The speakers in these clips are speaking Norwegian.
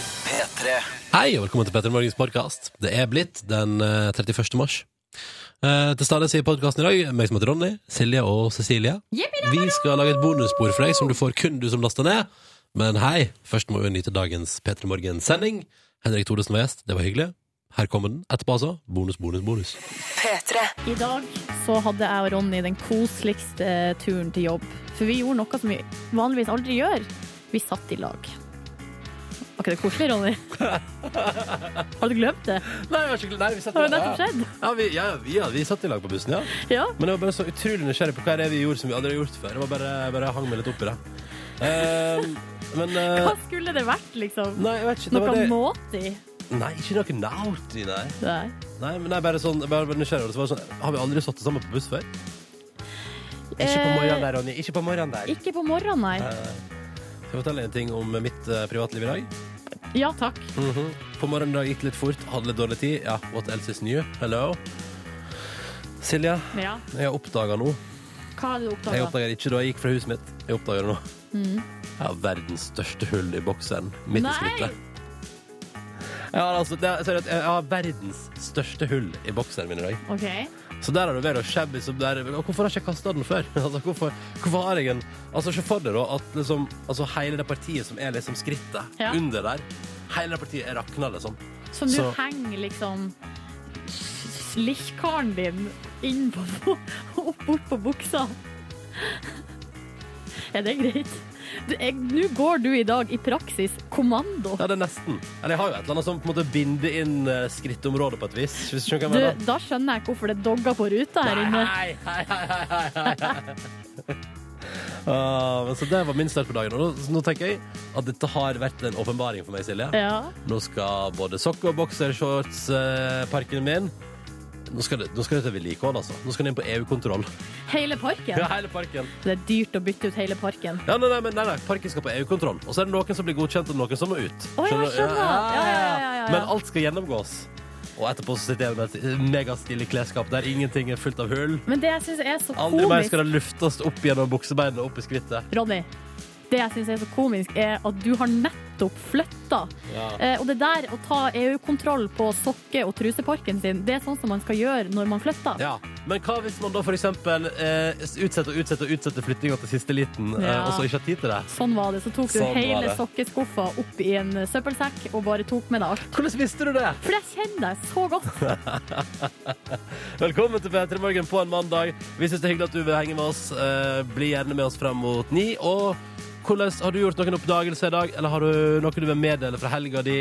P3. Hei, og velkommen til Petter Morgens podkast. Det er blitt den eh, 31. mars. Eh, til stadighet sier podkasten i dag meg som heter Ronny, Silje og Cecilie. Vi skal lage et bonusspor for deg som du får kun du som laster ned. Men hei, først må vi nyte dagens P3 Morgen-sending. Henrik Thodesen var gjest, det var hyggelig. Her kommer den. Etterpå, altså. Bonus, bonus, bonus. I dag så hadde jeg og Ronny den koseligste turen til jobb. For vi gjorde noe som vi vanligvis aldri gjør. Vi satt i lag. Var ikke det koselig, Ronny? Har du glemt det? Nei, jeg har ikke, nei vi satt Har det nettopp skjedd? Ja, vi, ja, vi, ja, vi satt i lag på bussen, ja. Ja. Men jeg var bare så utrolig nysgjerrig på hva det er vi gjorde som vi aldri har gjort før. Jeg var bare, bare hang meg litt opp i det. Eh, men eh, Hva skulle det vært, liksom? Nei, jeg vet ikke. Det Noe var det. naughty? Nei, ikke noe naughty, nei. Nei. Nei, men nei, bare sånn, bare, bare nysgjerrig. og så var det sånn, har vi aldri satt sammen på buss før? Ikke på morgenen der, Ronny. Ikke på morgenen der. Eh, Ikke på morgenen, nei. Skal jeg fortelle en ting om mitt eh, privatliv i dag? Ja takk. Mhm. På morgenen i dag gikk det litt fort, hadde litt dårlig tid. Ja, what else is new? Hello? Silja, Ja. jeg har oppdaga noe. Hva har du Jeg oppdaga? oppdaga det ikke da jeg gikk fra huset mitt. Jeg oppdager det nå. Jeg har verdens største hull i bokseren Mm. midt i Nei! skrittet. Jeg har, altså, det er, seriøst, jeg har verdens største hull i bokseren min i dag. OK. Så der har du vært og shabby som der. Og hvorfor har jeg ikke kasta den før? altså, hvorfor, hvorfor har jeg en Altså, se for deg da at liksom Altså, hele det partiet som er liksom skrittet Ja. under der, hele det partiet er rakna, liksom. Som du Så- henger liksom slikkaren din inn på opp bort på buksa. Er det greit? Du, jeg- Nå går du i dag i praksis kommando. Ja, det er nesten. Eller jeg har jo et eller annet som på en måte binder inn eh, skrittområdet på et vis. Hvis du skjønner hva jeg Du, mener. da skjønner jeg hvorfor det dogger på ruta her inne. Hei, hei, hei, hei, hei, hei, hei. Ah, men så det var min start på dagen. Og nå, nå tenker jeg at dette har vært en åpenbaring for meg, Silje. Ja. Nå skal både sokker og boksershorts, eh, parken min Nå skal det, nå skal det til vedlikehold, altså. Nå skal det inn på EU-kontroll. Hele parken. Ja, hele parken. Det er dyrt å bytte ut hele parken. Ja, nei, nei, men nei, nei, parken skal på EU-kontroll. Og så er det noen som blir godkjent, og noen som må ut. Å, ja, Skjønner du? skjønner. Ja, ja, ja, ja, ja. Men alt skal gjennomgås. Og etterpå så sitter jeg med et megastilig klesskap der ingenting er fullt av hull. Men det jeg syns er så Aldri mer komisk skal det luftes opp gjennom buksebeinet og opp i skrittet. Ronny, det jeg syns er så komisk, er at du har nettopp flytta. Eh, og det der å ta EU-kontroll på sokke- og truseparken sin, det er sånn som man skal gjøre når man flytter. Ja. Men hva hvis man da for eksempel eh, utsetter og utsetter og utsetter flyttinga til siste liten, eh, Ja. og så ikke har tid til det? Sånn var det. Så tok du Sånn var hele det. sokkeskuffa opp i en eh, søppelsekk og bare tok med deg alt. Hvordan visste du det? For jeg kjenner deg så godt. Velkommen til P3 Morgen på en mandag. Vi syns det er hyggelig at du vil henge med oss. Eh, Bli gjerne med oss frem mot ni. Og hvordan har du gjort noen oppdagelser i dag, eller har du noe du vil meddele fra helga di?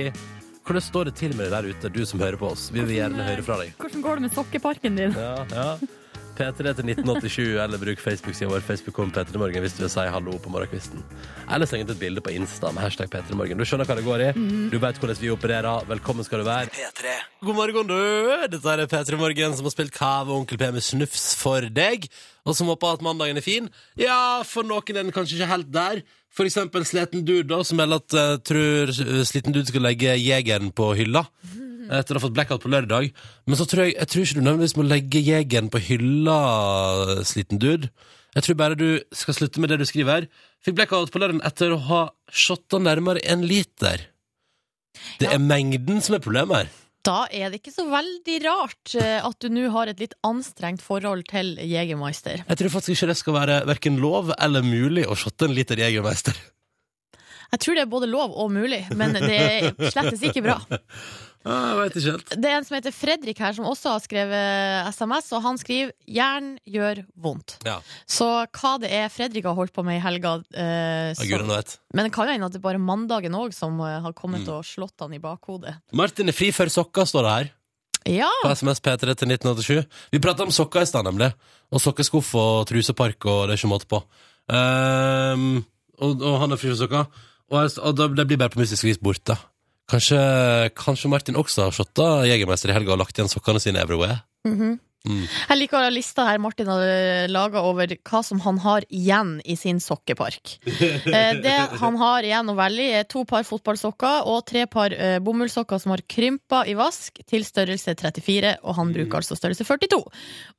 Hvordan står det til med deg der ute, du som hører på oss? Vi vil gjerne høre fra deg. Hvordan går det med sokkeparken din? Ja, ja. P3 til 1987, eller bruk Facebook-sida vår Facebook.com P3 Morgen hvis du vil si hallo på morgenkvisten. Eller sleng ut et bilde på Insta med hashtag P3 Morgen. Du skjønner hva det går i. Du vet hvordan vi opererer. Velkommen skal du være. P3. God morgen, du! Dette er P3 Morgen som har spilt Kave og Onkel P med snufs for deg, og som håper at mandagen er fin. Ja, for noen er den kanskje ikke helt der. For eksempel Sliten Dude, da, som melder at uh, tror eh, Sliten Dude skal legge Jegeren på hylla. Etter å ha fått blackout på lørdag. Men så tror jeg, jeg tror ikke du nødvendigvis må legge Jegeren på hylla, Sliten Dude. Jeg tror bare du skal slutte med det du skriver. Fikk blackout på lørdag etter å ha shotta nærmere en liter. Det er mengden som er problemet her. Da er det ikke så veldig rart eh, at du nå har et litt anstrengt forhold til Jegermeister. Jeg tror faktisk ikke det skal være hverken lov eller mulig å shotte en liter Jegermeister. Jeg tror det er både lov og mulig, men det er slettes ikke bra. Ah, jeg vet ikke helt. Det er en som heter Fredrik her, som også har skrevet eh, SMS, og han skriver 'Jern gjør vondt'. Ja, Så hva det er Fredrik har holdt på med i helga eh, ah, så- gudene vet. Men det kan jo hende at det er bare mandagen òg som eh, har kommet Mm. og slått han i bakhodet. Martin er fri før sokker, står det her. Ja! På SMS P3 til 1987. Vi prata om sokker i stad, nemlig. Og sokkeskuff og trusepark og det er ikke måte på. Ehm, og, og han er fri for sokker. Og, jeg- og da- det blir bare på mystisk vis borte. Kanskje, kanskje Martin også har shotta Jegermeister i helga og lagt igjen sokkene sine everywhere? Mhm. Mm. Jeg liker å ha lista her Martin har laga over hva som han har igjen i sin sokkepark. Eh, Det han har igjen å velge i, er to par fotballsokker og tre par eh, bomullssokker som har krympa i vask til størrelse 34, og han Mm. bruker altså størrelse 42.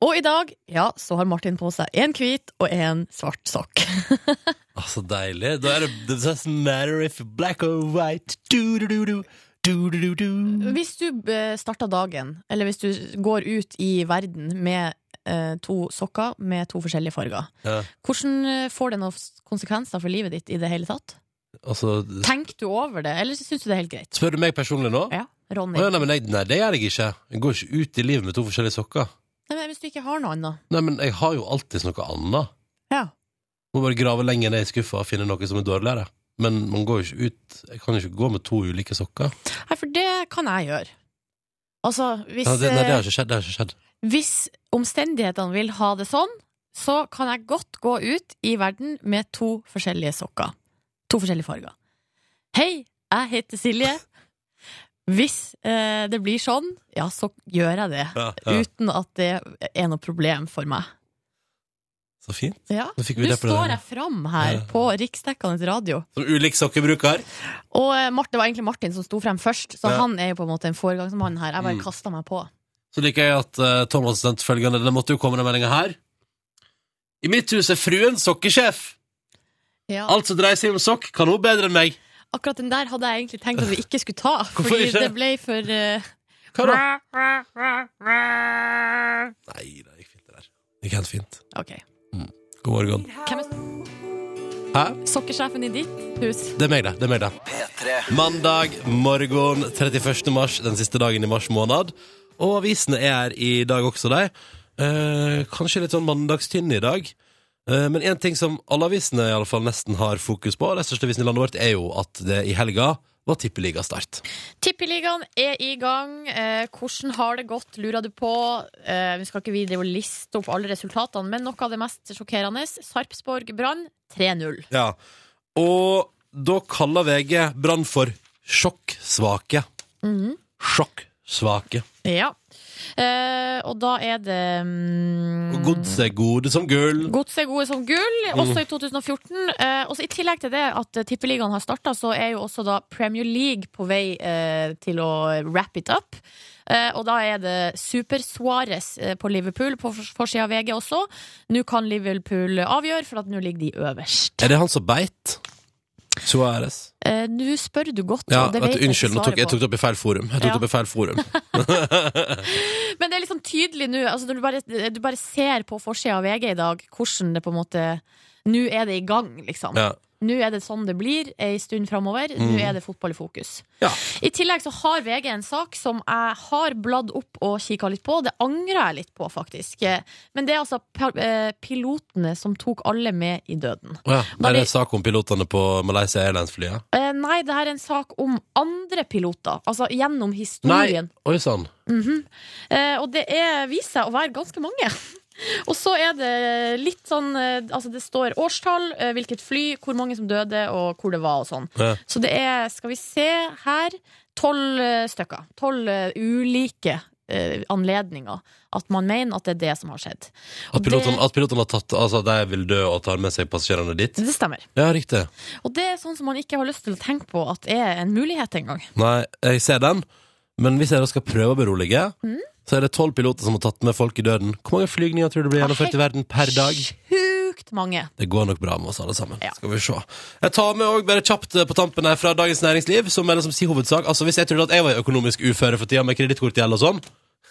Og i dag, ja, så har Martin på seg én hvit og én svart sokk. sånn Ah, så deilig. Da er det It doesn't matter if you're black or white. Du, du, du, du. Du-du-du-du. Hvis du eh, starter dagen, eller hvis du går ut i verden med eh, to sokker med to forskjellige farger, Ja, hvordan eh, får det noen s- konsekvenser for livet ditt i det hele tatt? altså, Tenker du over det, eller syns du det er helt greit? spør du meg personlig nå? Ja, Å, Ronny. ja, nei, men jeg, nei, det gjør jeg ikke. Jeg går ikke ut i livet med to forskjellige sokker. Nei, men hvis du ikke har noe annet. Nei, men jeg har jo alltid noe annet. Ja. Må bare grave lenger ned i skuffa og finne noe som er dårligere. Men man går jo ikke ut Jeg kan jo ikke gå med to ulike sokker. Nei, for det kan jeg gjøre. Altså, hvis, Ja, det, nei, det eh, har ikke skjedd. Det har ikke skjedd. hvis omstendighetene vil ha det sånn, så kan jeg godt gå ut i verden med to forskjellige sokker. To forskjellige farger. Hei, jeg heter Silje. Hvis eh, det blir sånn, ja, så gjør jeg det. Ja, ja. Uten at det er noe problem for meg. Så fint. Ja. Nå fikk vi Nå det på det. står jeg fram her Ja. på riksdekkende radio. Som ulik sokkebruker. Og eh, Mar- det var egentlig Martin som sto frem først, så Ja. han er jo på en måte en foregangsmann her. Mm. Jeg bare kasta meg på. Så liker jeg at eh, Thomas sendte følgende. Det måtte jo komme den meldinga her. I mitt hus er fruen sokkesjef. Ja. Alt som dreier seg om sokk, kan hun bedre enn meg. Akkurat den der hadde jeg egentlig tenkt at vi ikke skulle ta, Hvorfor fordi ikke? det ble for eh, Hva da? Nei, det gikk fint, det der. Det gikk helt fint. Ok. God morgen. Hvem er Hæ? sokkesjefen i ditt hus? Det er meg, det. det er meg det Mandag morgen 31. mars, den siste dagen i mars måned. Og avisene er her i dag også, de. Eh, kanskje litt sånn mandagstynne i dag. Eh, men én ting som alle avisene i alle fall nesten har fokus på, og de største avisene i landet vårt, er jo at det i helga var tippeligastart. Tippeligaen er i gang. Eh, hvordan har det gått, lurer du på? Eh, vi skal ikke videre og liste opp alle resultatene, men noe av det mest sjokkerende. Sarpsborg-Brann 3-0. Ja. Og da kaller VG Brann for sjokksvake. Mhm. Sjokksvake. Ja. Eh, og da er det mm, Og Godset er gode som gull. Godset er gode som gull, Mm. også i 2014. Eh, også I tillegg til det at eh, Tippeligaen har starta, så er jo også da Premier League på vei eh, til å wrap it up. Eh, og da er det Super-Suárez eh, på Liverpool på fors- forsida av VG også. Nå kan Liverpool avgjøre, for at nå ligger de øverst. Er det han som beit? Suárez. Eh, nå spør du godt, Ja, og det vet du, vet jeg unnskyld, ikke nå tok, jeg svaret på. tok det opp i feil forum. Jeg tok Ja. det opp i feil forum. Men det er liksom tydelig nå. Altså, når du, bare, du bare ser på forsida av VG i dag hvordan det på en måte Nå er det i gang, liksom. Ja. Nå er det sånn det blir ei stund framover. Nå er det fotball i fokus. Mm. Ja. I tillegg så har VG en sak som jeg har bladd opp og kikka litt på. Det angrer jeg litt på, faktisk. Eh, Men det er altså pa- eh, pilotene som tok alle med i døden. Å ja. Var Er det det- sak om pilotene på Malaysia Airlines-flyet? Eh, Nei, det her er en sak om andre piloter. Altså gjennom Nei! historien. Oi sann. Eh, og det er, viser seg å være ganske mange. Og så er det litt sånn eh, Altså, det står årstall, eh, hvilket fly, hvor mange som døde, og hvor det var, og sånn. Ja. Så det er, skal vi se her, tolv eh, stykker. Tolv eh, ulike eh, anledninger at man mener at det er det som har skjedd. At pilotene, at pilotene har tatt Altså, at de vil dø og tar med seg passasjerene dit? Det stemmer. Ja, riktig. Og det er sånn som man ikke har lyst til å tenke på at er en mulighet engang. Nei, jeg ser den. Men hvis jeg da skal prøve å berolige, Mm. så er det tolv piloter som har tatt med folk i døden. Hvor mange flygninger tror du blir gjennomført i verden per dag? Sjukt mange. Det går nok bra med oss alle sammen. Ja. Skal vi se. Jeg tar med også bare kjapt eh, på tampen her fra Dagens Næringsliv, som er det som sier hovedsak. Altså, hvis jeg trodde at jeg var i økonomisk uføre for tida med kredittkortgjeld og sånn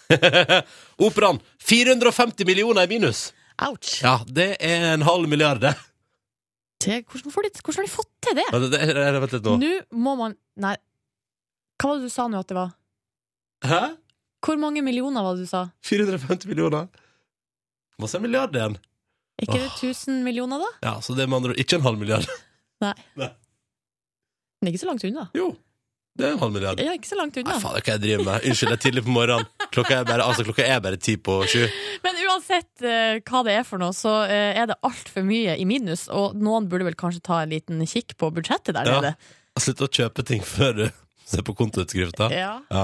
Operaen 450 millioner i minus. Ouch. Ja, det er en halv milliard, det. Det- Hvordan, får de, hvordan har de fått til det? Ja, det, det, det vent litt nå. Nå må man Nei, hva var det du sa nå at det var? Hæ? Hvor mange millioner var det du sa? 450 millioner? Masse en milliard igjen. Er ikke det 1000 millioner, da? Ja, så det er med andre ord ikke en halv milliard. Men ikke så langt unna. Jo, det er en halv milliard. Ja, ikke så langt Nei, unna. fader, hva jeg driver med? Unnskyld, det er tidlig på morgenen. Klokka er bare, altså, klokka er bare ti på sju. Men uansett eh, hva det er for noe, så eh, er det altfor mye i minus, og noen burde vel kanskje ta en liten kikk på budsjettet der Ja. nede. Slutt å kjøpe ting før du ser på kontoutskrifta. Ja. Ja.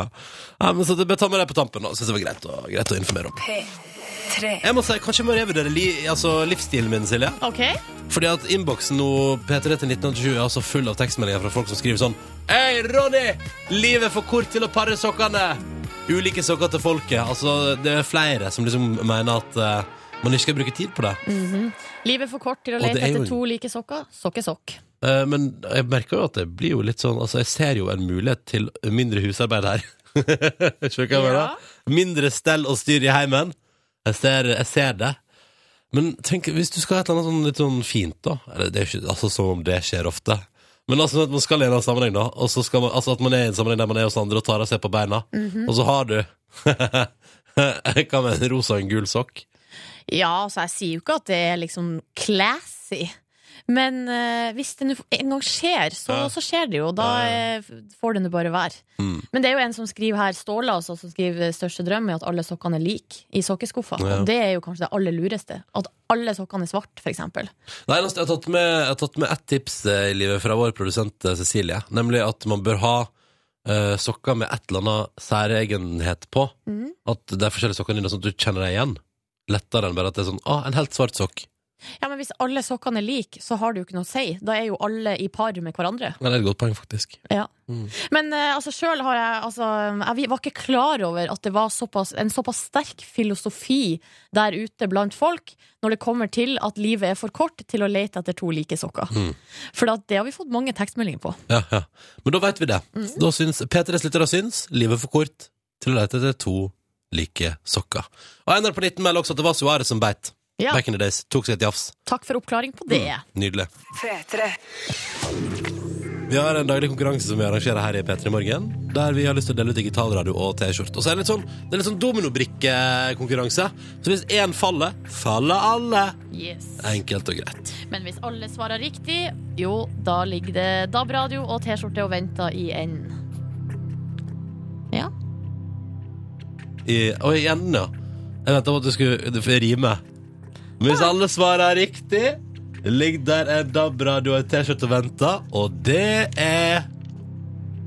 Nei, men så det bør ta med deg på tampen. da. Synes det var greit å, greit å informere om. Jeg må si, Kanskje jeg må revurdere li, altså, livsstilen min, Silje. OK? Fordi at innboksen nå P3 til 1987 er altså full av tekstmeldinger fra folk som skriver sånn Hei, Ronny! Livet er for kort til å pare sokkene! Ulike sokker til folket. Altså, det er flere som liksom mener at eh, man ikke skal bruke tid på det. Livet for kort til å det lete er jo- etter to like sokker. Sokkesokk. Eh, Men jeg merker jo at det blir jo litt sånn Altså, jeg ser jo en mulighet til mindre husarbeid her. Skjønner du hva jeg mener? Ja. Mindre stell og styr i heimen. Jeg ser, jeg ser det. Men tenk, hvis du skal ha et eller annet sånn, litt sånn fint, da Eller det er jo ikke altså, som om det skjer ofte. Men altså at man skal i en eller annen sammenheng, da. Og så skal man, altså at man er i en sammenheng der man er hos andre og tar av seg på beina. Og så har du Hva med en rosa og en gul sokk? Ja, altså jeg sier jo ikke at det er liksom classy. Men eh, hvis det nå en gang skjer, så, Ja. så skjer det jo. Da Ja, ja. eh, får det nå bare være. Mm. Men det er jo en som skriver her, Ståle, altså, som skriver største drøm er at alle sokkene er like i sokkeskuffa. Ja. Og det er jo kanskje det aller lureste. At alle sokkene er svarte, for eksempel. Nei, jeg har tatt med, jeg har tatt med ett tips eh, i livet fra vår produsent eh, Cecilie. Nemlig at man bør ha eh, sokker med et eller annet særegenhet på. Mhm. At det er forskjellige sokker dine, sånn at du kjenner deg igjen. Lettere enn bare at det er sånn ah, en helt svart sokk. Ja, men hvis alle sokkene er like, så har det jo ikke noe å si. Da er jo alle i par med hverandre. Men det er et godt poeng, faktisk. Men eh, altså, sjøl har jeg altså, Jeg var ikke klar over at det var såpass, en såpass sterk filosofi der ute blant folk når det kommer til at livet er for kort til å lete etter to like sokker. Mm. For at det har vi fått mange tekstmeldinger på. Ja, ja. Men da veit vi det. Mhm. Da syns P3s lyttere syns livet er for kort til å lete etter to like sokker. Og NR på 19 melder også at det var Suarez som beit. Ja. Back in the days. Tok seg et jafs. Takk for oppklaring på det. Nydelig. Vi har en daglig konkurranse som vi arrangerer her i P3 Morgen, der vi har lyst til å dele ut digitalradio og T-skjorte. Og så er det litt sånn, det er litt sånn dominobrikkekonkurranse. Så hvis én faller, faller alle. Yes. Enkelt og greit. Men hvis alle svarer riktig, jo, da ligger det DAB-radio og T-skjorte og venter i enden. Ja. I, og i enden, ja. Jeg venta på at du skulle du får rime. Men Ah. hvis alle svarer riktig, ligger der en DAB-radio og en T-skjorte og venter, og det er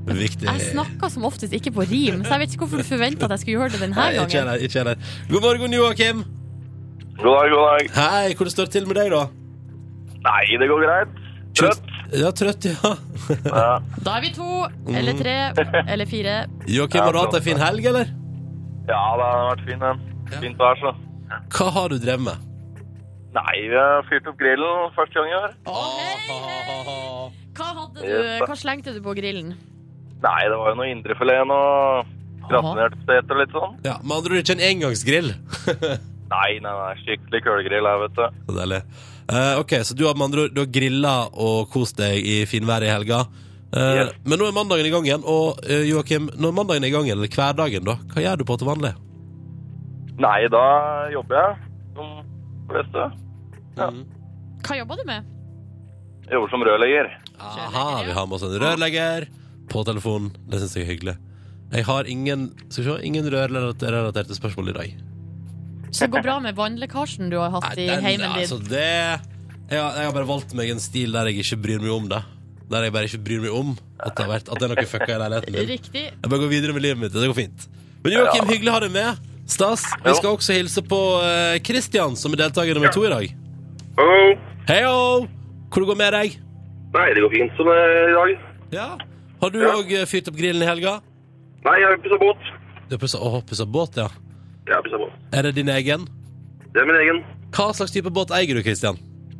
viktig. Jeg snakka som oftest ikke på rim, så jeg vet ikke hvorfor du forventa at jeg skulle gjøre det denne Nei, ikke gangen. heller, ikke heller. God morgen, Joakim. God dag, god dag. Hei, hvordan står det til med deg, da? Nei, det går greit. Trøtt. Ja, trøtt, ja. Ja. Da er vi to, Mm. eller tre, eller fire. Joakim, har du hatt ei fin helg, eller? ja, det har vært fin, den. Fint vær, så. Hva har du drevet med? Nei, vi har fyrt opp grillen første gang i år. Hva, hadde du, Yes, da. hva slengte du på grillen? Nei, det var jo noe indrefileten og gratinerte poteter og litt sånn. Ja, Med andre ord ikke en engangsgrill. Nei, nei, nei, skikkelig kulegrill her, vet du. Så deilig. Eh, ok, så du har med andre ord du har grilla og kost deg i finværet i helga. Eh, Yes. Men nå er mandagen i gang igjen, og eh, Joakim, når mandagen er i gang igjen, eller hverdagen, da, hva gjør du på til vanlig? Nei, da jobber jeg som fleste. Ja. Mm. Hva jobba du med? Jeg Jobber som rørlegger. Aha, vi har med oss en rørlegger på telefonen. Det syns jeg er hyggelig. Jeg har ingen, skal vi se, ingen rørrelaterte spørsmål i dag. Så det går bra med vannlekkasjen du har hatt Nei, i den- heimen Altså, din. det jeg har, jeg har bare valgt meg en stil der jeg ikke bryr meg om det. Der jeg bare ikke bryr meg om at det, har vært, at det er noe fucka i leiligheten min. Riktig. Jeg bare går videre med livet mitt. Det går fint. Men Joakim, Ja. hyggelig å ha deg med. Stas, vi Jo. skal også hilse på eh, Christian, som er deltaker nummer to i dag. Hallo. Heio! Hvor det går med deg? Nei, det går fint som det er i dag. Ja. Har du Ja. òg fyrt opp grillen i helga? Nei, jeg har pussa båt. Du har pussa å, pussa båt, ja. Jeg har pussa båt. Er det din egen? Det er min egen. Hva slags type båt eier du, Christian?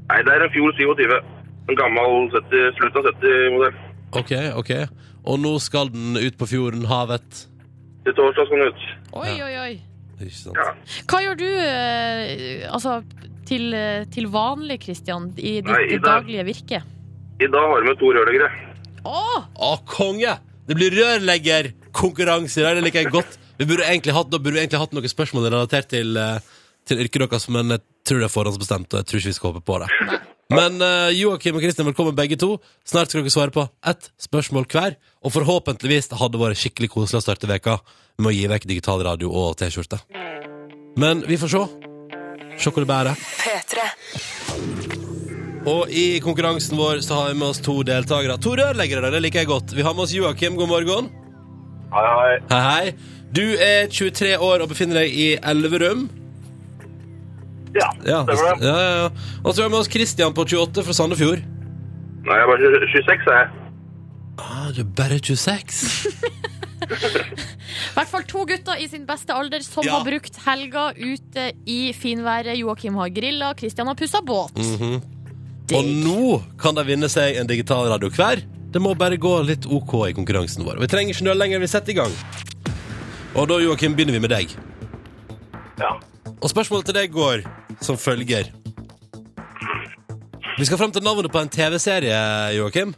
Nei, det er en Fjord 27. En gammel 70, slutten av 70-modell. OK, OK. Og nå skal den ut på fjorden, havet. Til torsdag skal den ut. Oi, Ja. oi, oi. Ikke sant? Ja. Hva gjør du eh, altså, til, eh, til vanlig, Christian, i ditt Nei, i dag- daglige virke? I dag har vi med to rørleggere. Å! Å, konge! Det blir rørleggerkonkurranse i dag. Det liker jeg godt. Vi burde egentlig hatt, da burde vi egentlig hatt noen spørsmål relatert til, eh, til yrket deres, men jeg tror det er forhåndsbestemt, og jeg tror ikke vi skal håpe på det. Men eh, Joakim og Kristin, velkommen begge to. Snart skal dere svare på ett spørsmål hver. Og forhåpentligvis det hadde vært skikkelig koselig å starte veka med å gi vekk digital radio og T-skjorte. Men vi får se. Se hvor det bærer. Og i konkurransen vår så har vi med oss to deltakere. To rørleggere, da, det liker jeg godt. Vi har med oss Joakim, god morgen. Hei, hei. Hei, hei. Du er 23 år og befinner deg i Elverum. Ja, Ja, det, stemmer det. ja, ja, ja. Og så har vi med oss Kristian på 28 fra Sandefjord. Nei, jeg er bare 26, er jeg. Ah, du er bare 26. I hvert fall to gutter i sin beste alder som Ja. har brukt Mhm. helga ute i finværet. Joakim har grilla, Christian har pussa båt. Og nå kan de vinne seg en digital radio hver. Det må bare gå litt OK i konkurransen vår. Og Vi trenger ikke nøle lenger, vi setter i gang. Og da, Joakim, begynner vi med deg. Ja. Og spørsmålet til deg går som følger. Vi skal fram til navnet på en TV-serie, Joakim.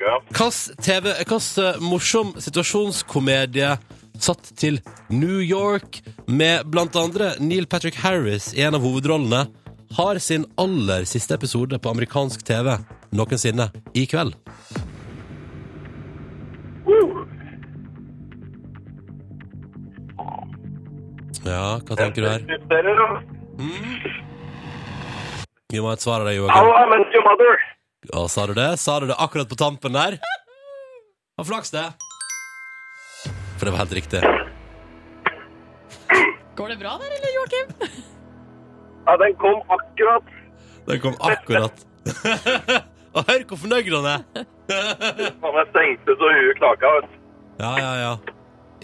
ja. Hvilken TV, hvilken eh, morsom situasjonskomedie satt til New York med blant andre Neil Patrick Harris i en av hovedrollene, har sin aller siste episode på amerikansk TV noensinne i kveld? Woo! Ja, hva tenker du her? Dere, da. Vi må ha et svar av deg, How Joakim. I Met Your Mother. Ja, sa du det? Sa du det akkurat på tampen der? Hva flaks det? For det var helt riktig. Går det bra der, eller, Joakim? Ja, den kom akkurat. Den kom akkurat. Og hør hvor fornøyd han er! Han er stengte så huet klaka. vet du. Ja, ja, ja.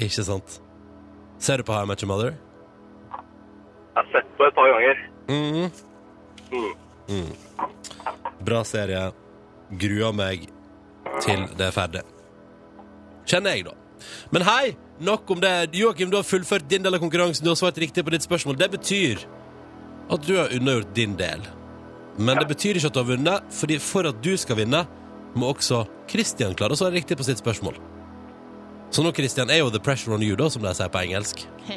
Ikke sant. Ser du på How I Met Your Mother? Jeg har sett på et par ganger. Mhm. Mm. Mm. Bra serie. Gruer meg til det er ferdig. Kjenner jeg, da. Men hei, nok om det. Joakim, du har fullført din del av konkurransen. Du har svart riktig på ditt spørsmål. Det betyr at du har unnagjort din del. Men det betyr ikke at du har vunnet, fordi for at du skal vinne, må også Christian klare å svare riktig på sitt spørsmål. Så nå, Christian, er jo the pressure on you, da, som de sier på engelsk.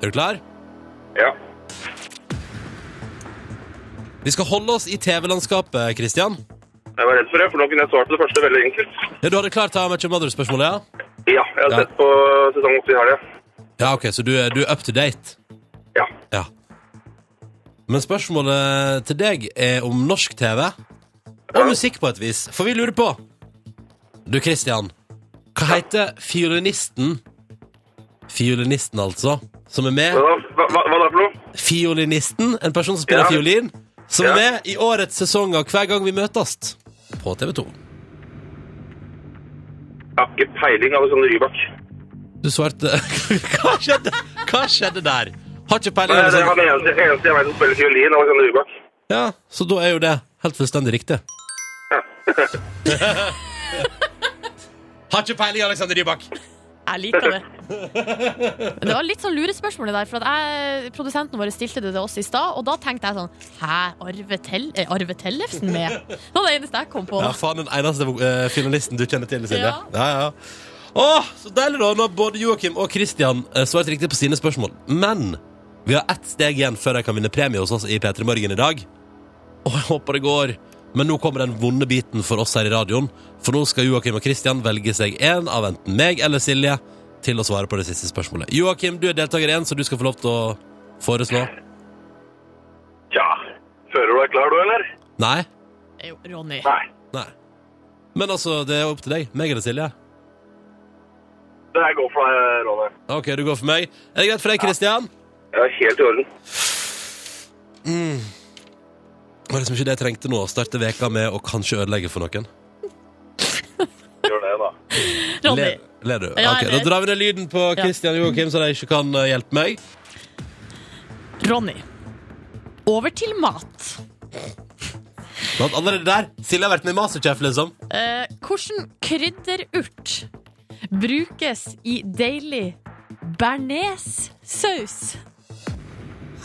Er du klar? Mhm. Ja. Vi skal holde oss i TV-landskapet, Christian. Jeg var redd for det, for nå kunne jeg svart på det første veldig enkelt. Ja, du hadde klart How I Met Your Mother-spørsmålet, ja? Ja, jeg har Ja. sett på sesong 8 i helga. Ja, ok, så du er, du er up to date? Ja. Ja. Men spørsmålet til deg er om norsk TV og musikk på et vis, for vi lurer på Du, Christian, hva heter fiolinisten Fiolinisten, altså, som er med Hva, da? hva, hva, hva da for noe? Fiolinisten, en person som spiller Ja. fiolin, som Ja. er med i årets sesong av Hver gang vi møtes på TV 2. Jeg har ikke peiling, Alexander Rybak. Du svarte Hva skjedde? Hva skjedde der? Har ikke Nei, peiling. det er Alexander. han eneste, eneste jeg vet som spiller fiolin, Alexander Rybak. Ja, så da er jo det helt fullstendig riktig. Har ikke peiling, Alexander Rybak. Jeg liker det. Men det var litt sånn lurespørsmål det der, for at jeg, produsenten vår stilte det til oss i stad, og da tenkte jeg sånn Hæ, Arve, Tell er Arve Tellefsen med? Det var det eneste jeg kom på. Ja, faen, den eneste eh, finalisten du kjenner til, Silje. Ja. Ja, ja. Åh, så deilig, da. Nå har både Joakim og Christian eh, svart riktig på sine spørsmål. Men vi har ett steg igjen før de kan vinne premie hos oss i P3 Morgen i dag. Og jeg håper det går. Men nå kommer den vonde biten for oss her i radioen. For nå skal Joakim og Christian velge seg en av enten meg eller Silje til å svare på det siste spørsmålet. Joakim, du er deltaker én, så du skal få lov til å foreslå. Tja. Føler du deg klar, du, eller? Nei? Jo, Ronny. Nei. Nei. Men altså, det er opp til deg. Meg eller Silje? Det her går for deg, Ronny. Ok, du går for meg. Er det greit for deg, Christian? Jeg er helt i orden. Det var liksom ikke det jeg trengte nå. Å starte veka med å kanskje ødelegge for noen. Gjør det, da. Ronny. Ler ler du? Ja, Ok, jeg Da ler. drar vi ned lyden på Ja. Christian og Joakim, så de ikke kan eh, hjelpe meg. Ronny. Over til mat. Men allerede der, Silje har vært med i Masterchef, liksom. Eh, hvordan krydderurt brukes i deilig bearnéssaus?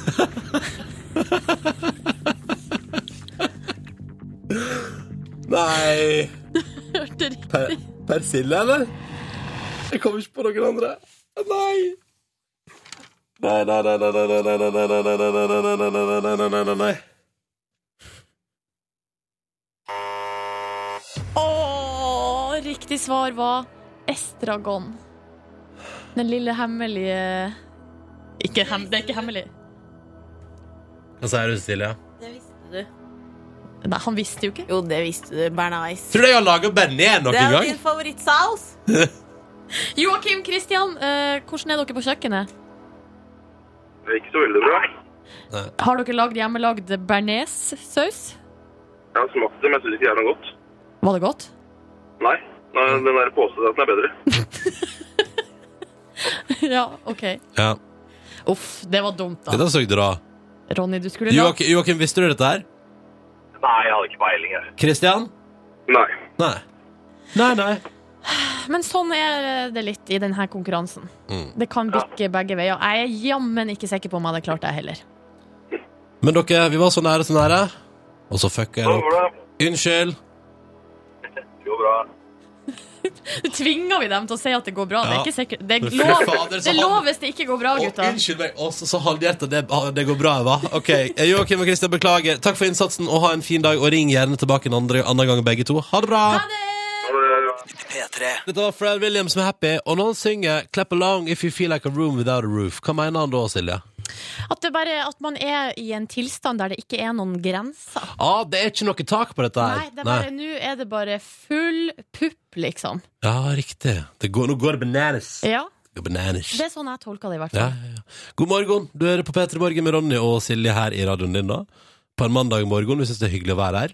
Nei Hørte dere ikke? Per, persille, eller? Jeg kommer ikke på noen andre. Nei. Nei, nei, nei, nei, nei, nei, nei, nei, nei, nei, nei, nei, nei, nei, nei, nei, nei, nei, nei, nei, nei. Åh, riktig svar var estragon. Den lille hemmelige ikke hem, Det er ikke hemmelig. Hva sier du, Silje? Det visste du. Nei, han visste jo ikke. Jo, det visste du. Bernays. Tror du jeg har laget bearnés Det noen er jo gang? din favorittsaus. Joakim Kristian, eh, hvordan er dere på kjøkkenet? Det gikk så veldig bra. Har dere lagd hjemmelagd bearnéssaus? Jeg har smakt det, men jeg syns ikke det er noe godt. Var det godt? Nei. Nei, Den der påstanden er bedre. ja, OK. Ja, Uff, det var dumt, da. dette søkte du da. Ronny, du skulle lagd Joakim, Joakim, visste du dette her? Nei, jeg hadde ikke peiling. jeg. Kristian? Nei. Nei. Nei, nei. Men sånn er det litt i denne konkurransen. Mm. Det kan bikke begge veier. Jeg er jammen ikke sikker på om jeg hadde klart det heller. Men dere, vi var så nære, så nære. Og så fucka jeg Så det opp. går det. Unnskyld. Det går bra. Nå tvinger vi dem til å si at det går bra. Det Ja. er ikke sikkert Det er Men fy lov, fader, så det er han- lov hvis det ikke går bra, Å, gutta. unnskyld meg, også så halvhjertet. Det, det går bra, hva? Ok, Joakim og Kristian, beklager. Takk for innsatsen, og ha en fin dag. Og ring gjerne tilbake en andre, annen gang, begge to. Ha det bra! Ha det! Ha det. Dette var Fred Williams med Happy, og når han synger Clap along if you feel like a room without a roof, hva mener han da, Silje? At, det bare, at man er i en tilstand der det ikke er noen grenser. Ah, det er ikke noe tak på dette her. Nei, det er bare, Nå er det bare full pupp, liksom. Ja, riktig. Det går, nå går det bananas. Ja, Det går bananas. Det er sånn jeg tolker det, i hvert Ja, fall. ja, ja. God morgen, du hører på P3 Morgen med Ronny og Silje her i radioen din da På en mandag morgen, vi synes det er hyggelig å være her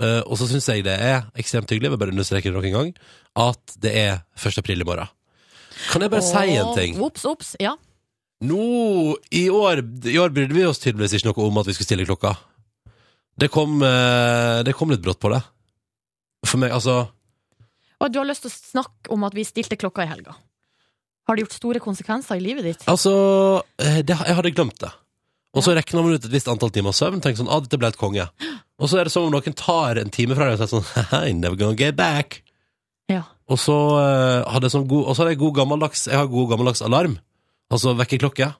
Eh, Og så synes jeg det er ekstremt hyggelig, jeg vil bare understreke det nok en gang At det er 1. april i morgen Kan jeg bare si en Og- ting? Ops, ops. Ja. Nå, i år, i år brydde vi oss tydeligvis ikke noe om at vi skulle stille klokka Det kom, eh, det kom litt brått på det For meg, altså Og du har lyst til å snakke om at vi stilte klokka i helga. Har det gjort store konsekvenser i livet ditt? Altså, eh, det, jeg hadde glemt det. Og så rekna man ut et visst antall timer søvn. Tenk sånn, ah, dette ble et konge. Og så er det som om noen tar en time fra deg og sier sånn «Haha, never gonna get back. Ja. Og så eh, hadde jeg sånn god, og så hadde jeg god gammeldags Jeg har god gammeldags alarm. Altså vekkerklokke.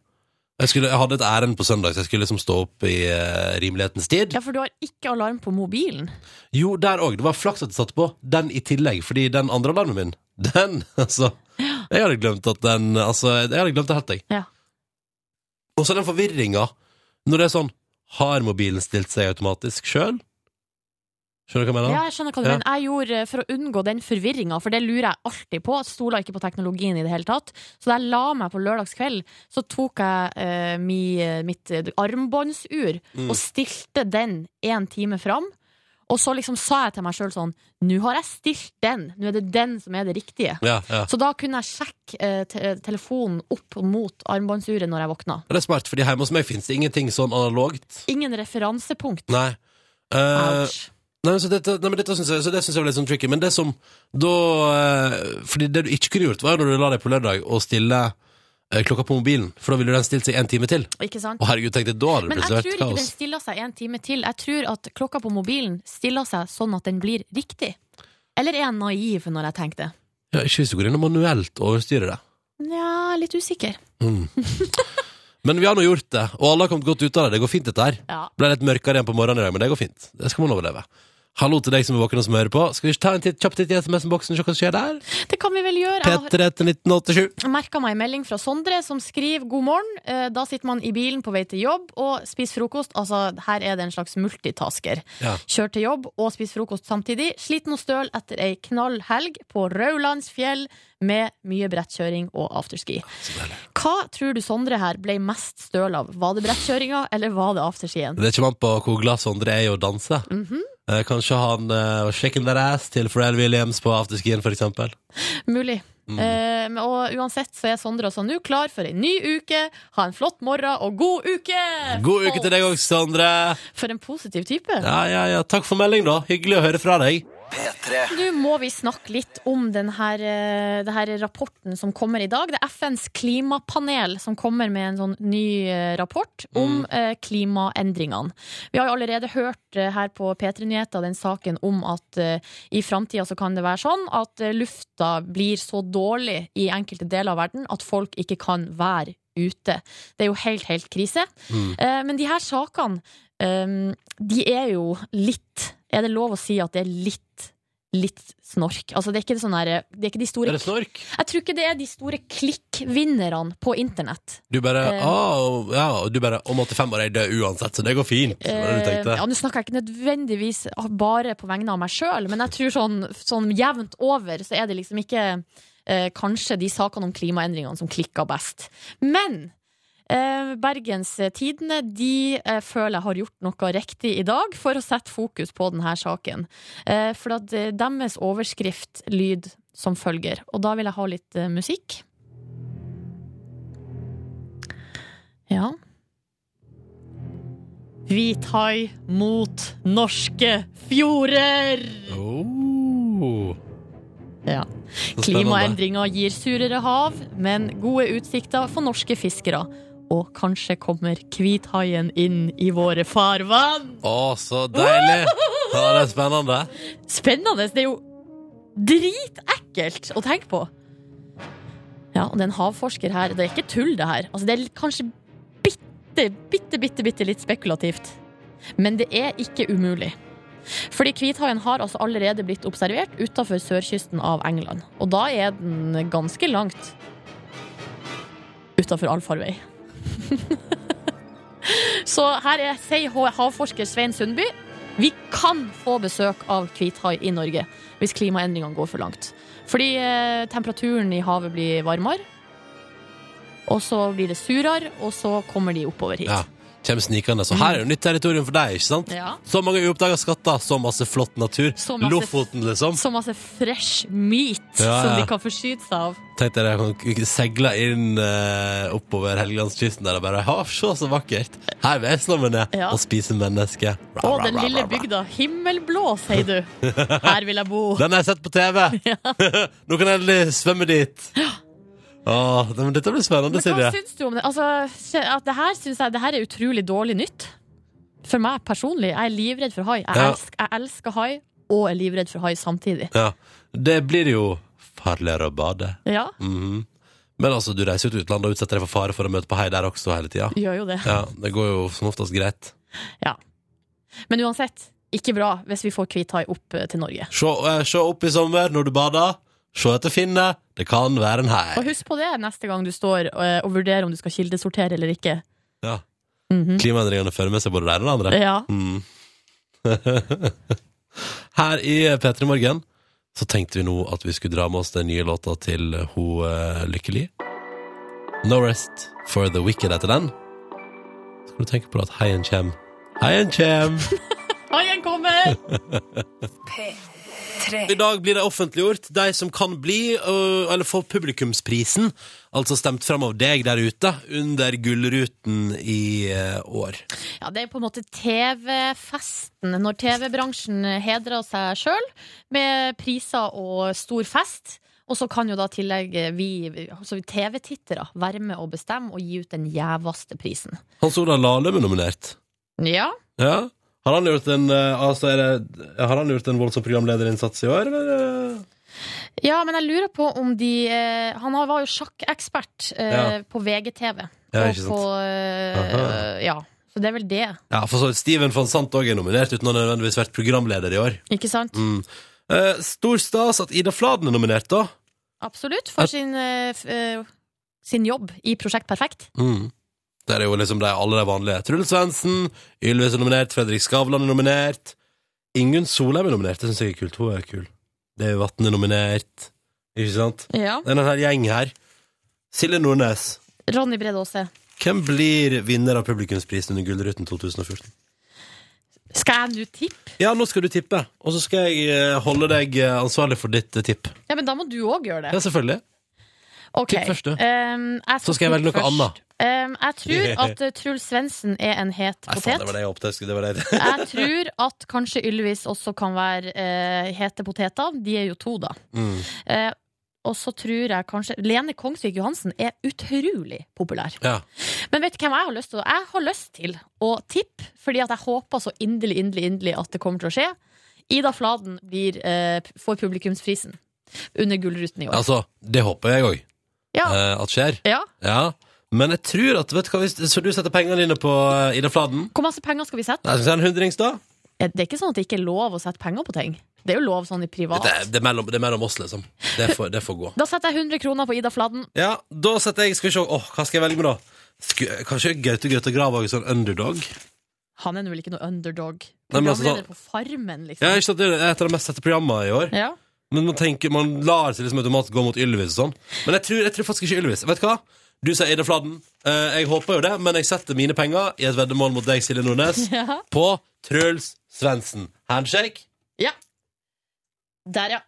Jeg, skulle, jeg hadde et ærend på søndag, så jeg skulle liksom stå opp i eh, rimelighetens tid. ja, for du har ikke alarm på mobilen. Jo, der òg. Det var flaks at jeg satte på den i tillegg, fordi den andre alarmen min, den Altså, jeg hadde glemt at den Altså, jeg hadde glemt det helt, jeg. Ja. Og så den forvirringa når det er sånn Har mobilen stilt seg automatisk sjøl? Skjønner du hva jeg mener? Ja, jeg skjønner hva du Ja. mener. Jeg gjorde, eh, For å unngå den forvirringa, for det lurer jeg alltid på. Jeg Stoler ikke på teknologien i det hele tatt. Så da jeg la meg på lørdagskveld, så tok jeg eh, mi, eh, mitt eh, armbåndsur Mm. og stilte den én time fram. Og så liksom sa jeg til meg sjøl sånn Nå har jeg stilt den! Nå er det den som er det riktige. Ja, ja. Så da kunne jeg sjekke eh, te telefonen opp mot armbåndsuret når jeg våkna. Det er smart, fordi hjemme hos meg fins det ingenting sånn analogt. Ingen referansepunkt. Nei. Eh, Ouch. Nei, så dette, nei, men dette synes jeg, så det syns jeg var litt sånn tricky. Men det som da eh, Fordi det du ikke kunne gjort, var jo når du la deg på lørdag og stille eh, klokka på mobilen. For da ville jo den stilt seg en time til. Ikke sant? Å herregud, tenkte jeg, da hadde det Men jeg plutselig tror vært ikke den kaos. stiller seg en time til. Jeg tror at klokka på mobilen stiller seg sånn at den blir riktig. Eller er jeg naiv når jeg tenker det? Ja, ikke hvis du går inn og manuelt overstyrer det. Nja, litt usikker. Mm. men vi har nå gjort det, og alle har kommet godt ut av det. Det går fint, dette her. Ja. Ble litt mørkere igjen på morgenen i dag, men det går fint. Det skal man overleve. Hallo til deg som er våken og som hører på. Skal vi ikke ta en titt, kjapp titt i SMS-boksen og se hva som skjer der? Det kan vi vel gjøre. Jeg har- P3 til 1987. merka meg en melding fra Sondre som skriver god morgen. Eh, Da sitter man i bilen på vei til jobb og spiser frokost. Altså, her er det en slags multitasker. Ja. Kjør til jobb og spis frokost samtidig. Sliten og støl etter ei knall helg på Raulandsfjell med mye brettkjøring og afterski. Hva tror du Sondre her ble mest støl av? Var det brettkjøringa, eller var det afterskien? Det kommer an på hvor glad Sondre er i å danse. Mhm. Eh, Kanskje han uh, shaking their ass til Pharrell Williams på afterskien, for eksempel. Mulig. Mm. Eh, men- og uansett så er Sondre også nå klar for ei ny uke. Ha en flott morgen og god uke! God uke til deg òg, Sondre! For en positiv type. Ja, ja, ja. Takk for melding, da. Hyggelig å høre fra deg. Nå må vi snakke litt om den her, eh, det her rapporten som kommer i dag. Det er FNs klimapanel som kommer med en sånn ny eh, rapport om Mm. eh, klimaendringene. Vi har jo allerede hørt eh, her på P3 Nyheter den saken om at eh, i framtida så kan det være sånn at eh, lufta blir så dårlig i enkelte deler av verden at folk ikke kan være ute. Det er jo helt, helt krise. Mm. Eh, Men de her sakene, eh, de er jo litt Er det lov å si at det er litt litt snork. Altså, det er ikke, det sånn her, det er ikke de Er store det snork? Jeg tror ikke det er de store klikkvinnerne på internett. Du bare Eh. ah, ja, du bare Om 85 år er jeg død uansett, så det går fint. Det var det du Eh, ja, tenkte. Nå snakker jeg ikke nødvendigvis bare på vegne av meg sjøl, men jeg tror sånn, sånn jevnt over så er det liksom ikke eh, kanskje de sakene om klimaendringene som klikker best. Men eh, Bergens Tidende de eh, føler jeg har gjort noe riktig i dag for å sette fokus på denne saken. Eh, for at eh, deres overskrift lyd som følger, og da vil jeg ha litt eh, musikk. Ja. Hvithai mot norske fjorder. Oh. Ja. Så spennende. Klimaendringer gir surere hav, men gode utsikter for norske fiskere. Og kanskje kommer hvithaien inn i våre farvann. Å, så deilig! Ja, det er spennende. Spennende! Det er jo dritekkelt å tenke på. Ja, og det er en havforsker her. Det er ikke tull, det her. Altså, det er kanskje bitte, bitte, bitte, bitte litt spekulativt. Men det er ikke umulig. Fordi hvithaien har altså allerede blitt observert utafor sørkysten av England. Og da er den ganske langt utafor allfarvei. Så her er, sier havforsker Svein Sundby vi kan få besøk av hvithai i Norge hvis klimaendringene går for langt. Fordi eh, temperaturen i havet blir varmere, og så blir det surere, og så kommer de oppover hit. Ja. Kjem snikende. Så her er jo nytt territorium for deg, ikke sant? Ja. Så mange uoppdaga skatter, så masse flott natur. Så masse- Lofoten, liksom. Så masse altså fresh meat Ja, ja. som de kan forsyne seg av. Tenkte jeg jeg kan seile inn eh, oppover Helgelandskysten der og bare ha, se så vakkert. Her vesler vi ned Ja. og spiser mennesker. Ra, Og ra, den ra, lille ra, ra. bygda. Himmelblå, sier du. Her vil jeg bo. Den har jeg sett på TV! Nå kan jeg endelig svømme dit. Åh, det- men dette blir spennende, Men hva Silje. syns du om det? Altså, at det, her synes jeg, det her er utrolig dårlig nytt. For meg personlig. Jeg er livredd for hai. Jeg, Ja. elsk, jeg elsker hai, og er livredd for hai samtidig. Ja. Det blir jo farligere å bade. Ja, Mhm. Men altså, du reiser jo til utlandet og utsetter deg for fare for å møte på hei der også hele tida. gjør jo det. Ja, det går jo som oftest greit. Men uansett, ikke bra hvis vi får hvit hai opp eh, til Norge. Se, eh, se opp i sommer når du bader. Se etter finnet. Det kan være en hei. Og husk på det neste gang du står eh, og vurderer om du skal kildesortere eller ikke. Ja. Mhm. Klimaendringene fører med seg både det ene og det andre. Ja. Mm. Her i P3 Morgen så tenkte vi nå at vi skulle dra med oss den nye låta til ho eh, Lykkelig. No Rest for the Wicked etter den. Så kan du tenke på at heien kjem. Heien kjem! Haien kommer! I dag blir det offentliggjort. De som kan bli, øh, eller få publikumsprisen, altså stemt fram av deg der ute, under Gullruten i eh, år. Ja, det er på en måte TV-festen. Når TV-bransjen hedrer seg sjøl med priser og stor fest. Og så kan jo da i tillegg vi, altså vi TV-tittere være med og bestemme og gi ut den gjeveste prisen. Hans Olav Lahlum er nominert. Ja. Ja. Har han gjort en, eh, altså er det, har han gjort en voldsom programlederinnsats i år, eller? ja, men jeg lurer på om de eh, Han var jo sjakkekspert eh, på VGTV. Ja, og ikke sant. på, eh, Aha. ja, så det er vel det. Ja, for så vidt. Steven van Sant òg er nominert, uten å ha nødvendigvis vært programleder i år. Ikke sant? Mm. Eh, stor stas at Ida Fladen er nominert, da. Absolutt. For sin, eh, f- eh, sin jobb i Prosjekt Perfekt. Mm. Der er jo liksom de, alle de vanlige. Truls Svendsen, Ylvis er nominert, Fredrik Skavlan er nominert. Ingunn Solheim er nominert, det syns jeg er kult. Hun er kul. Davy Vatn er nominert. Ikke sant? Ja. Det er en hel gjeng her. Silje Nordnes. Ronny Brede Aase. Hvem blir vinner av publikumsprisen under Gullruten 2014? Skal jeg nå tippe? Ja, nå skal du tippe, og så skal jeg eh, holde deg eh, ansvarlig for ditt eh, tipp. Ja, men da må du òg gjøre det. Ja, selvfølgelig. Ok. Tipp først, du. Ehm, Så skal jeg velge noe tippe annet. først. Ehm, jeg tror at eh, Truls Svendsen er en het Nei, faen, det var potet. det jeg håpte. jeg skulle- Det var det. Jeg tror at kanskje Ylvis også kan være eh, hete poteter. De er jo to, da. Mm. Eh, og så tror jeg kanskje Lene Kongsvik Johansen er utrolig populær. Ja. Men vet du hvem jeg har lyst til? å- Jeg har lyst til å tippe, fordi at jeg håper så inderlig, inderlig, inderlig at det kommer til å skje. Ida Fladen blir, eh, får publikumsprisen under Gullruten i år. Altså, det håper jeg òg Ja. eh, at skjer. Ja. Ja. Men jeg tror at vet du hva, hvis, Så du setter pengene dine på eh, Ida Fladen? Hvor masse penger skal vi sette? Nei, skal vi si en hundrings, da? Ja, Det er ikke sånn at det ikke er lov å sette penger på ting. Det er jo lov sånn i privat. Det, det, er mellom, det er mellom oss, liksom. Det får, det får gå. Da setter jeg 100 kroner på Ida Fladden. Ja, da setter jeg Skal vi se, åh, hva skal jeg velge med, da? Sku, kanskje Gaute Grøtte Grav og sånn underdog? Han er nå vel ikke noe underdog. Nei, men altså, Programleder på Farmen, liksom. Ja, ikke sant, Det er et av de mest sette programmene i år. Ja. Men man tenker, man lar seg liksom automatisk gå mot Ylvis og sånn. Men jeg tror, jeg tror faktisk ikke Ylvis. Vet du hva? Du sier Ida Fladen. Eh, jeg håper jo det, men jeg setter mine penger i et veddemål mot deg, Silje Nordnes, Ja. på Truls Svendsen. Handshake? Der, ja.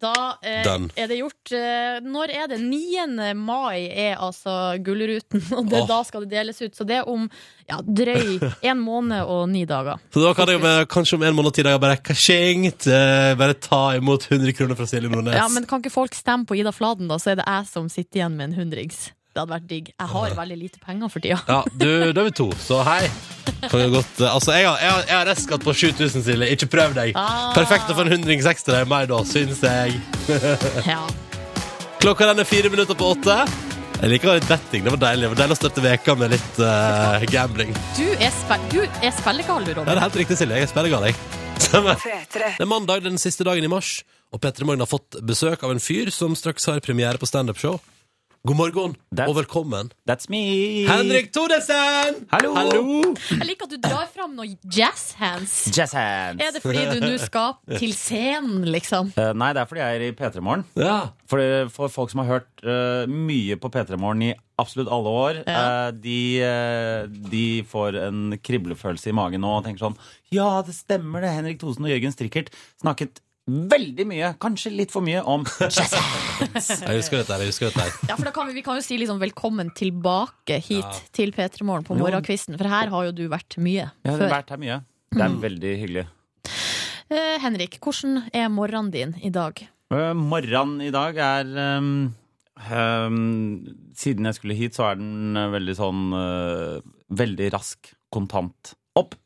Da eh, Den. er det gjort. Eh, når er det? 9. mai er altså Gullruten, og det, Åh. da skal det deles ut. Så det er om ja, drøy en måned og ni dager. Så da kan jeg med, kanskje om en måned og ti dager bare kasjengt, eh, bare ta imot 100 kroner fra Silje Nordnes. Ja, Men kan ikke folk stemme på Ida Fladen, da? Så er det jeg som sitter igjen med en hundrings. Det hadde vært digg. Jeg har veldig lite penger for tida. Ja, du, da er vi to, så hei. Kan jo godt, eh, altså, jeg har, jeg har, jeg har reskatt på 7000, Silje. Ikke prøv deg. Ah. Perfekt å få en hundrings ekstra i meg da, syns jeg. Ja. Klokka den er fire minutter på åtte. Jeg liker å ha litt betting. Det var deilig. Det var deilig å starte veka med litt eh, gambling. Du er, spe du er spillegal, Ja, du, det Ronny. er helt riktig, Silje. Jeg er spillegal, jeg. Stemmer. Det er mandag, den siste dagen i mars, og Petter Morgen har fått besøk av en fyr som straks har premiere på standup-show. God morgen, That's- og velkommen. That's me! Henrik Thodesen! Hallo! Hallo! Jeg liker at du drar fram noen jazz hands. Jazz hands! Er det fordi du nå skal til scenen, liksom? Eh, nei, det er fordi jeg er i P3 Morgen. Ja. For, for folk som har hørt eh, mye på P3 Morgen i absolutt alle år, eh, de, eh, de får en kriblefølelse i magen nå og tenker sånn Ja, det stemmer det. Henrik Thosen og Jørgen Strikkert snakket veldig mye, kanskje litt for mye, om jazz hands. Jeg husker dette, her, jeg husker dette. her. Ja, for da kan vi, vi kan jo si liksom velkommen tilbake hit Ja. til P3 Morgen på morgenkvisten, for her har jo du vært mye Jeg har før. vært her mye. Det er veldig hyggelig. Eh, Henrik, hvordan er morgenen din i dag? Uh, morgenen i dag er ehm, ehm, Siden jeg skulle hit, så er den eh, veldig sånn eh, Veldig rask, kontant. Opp!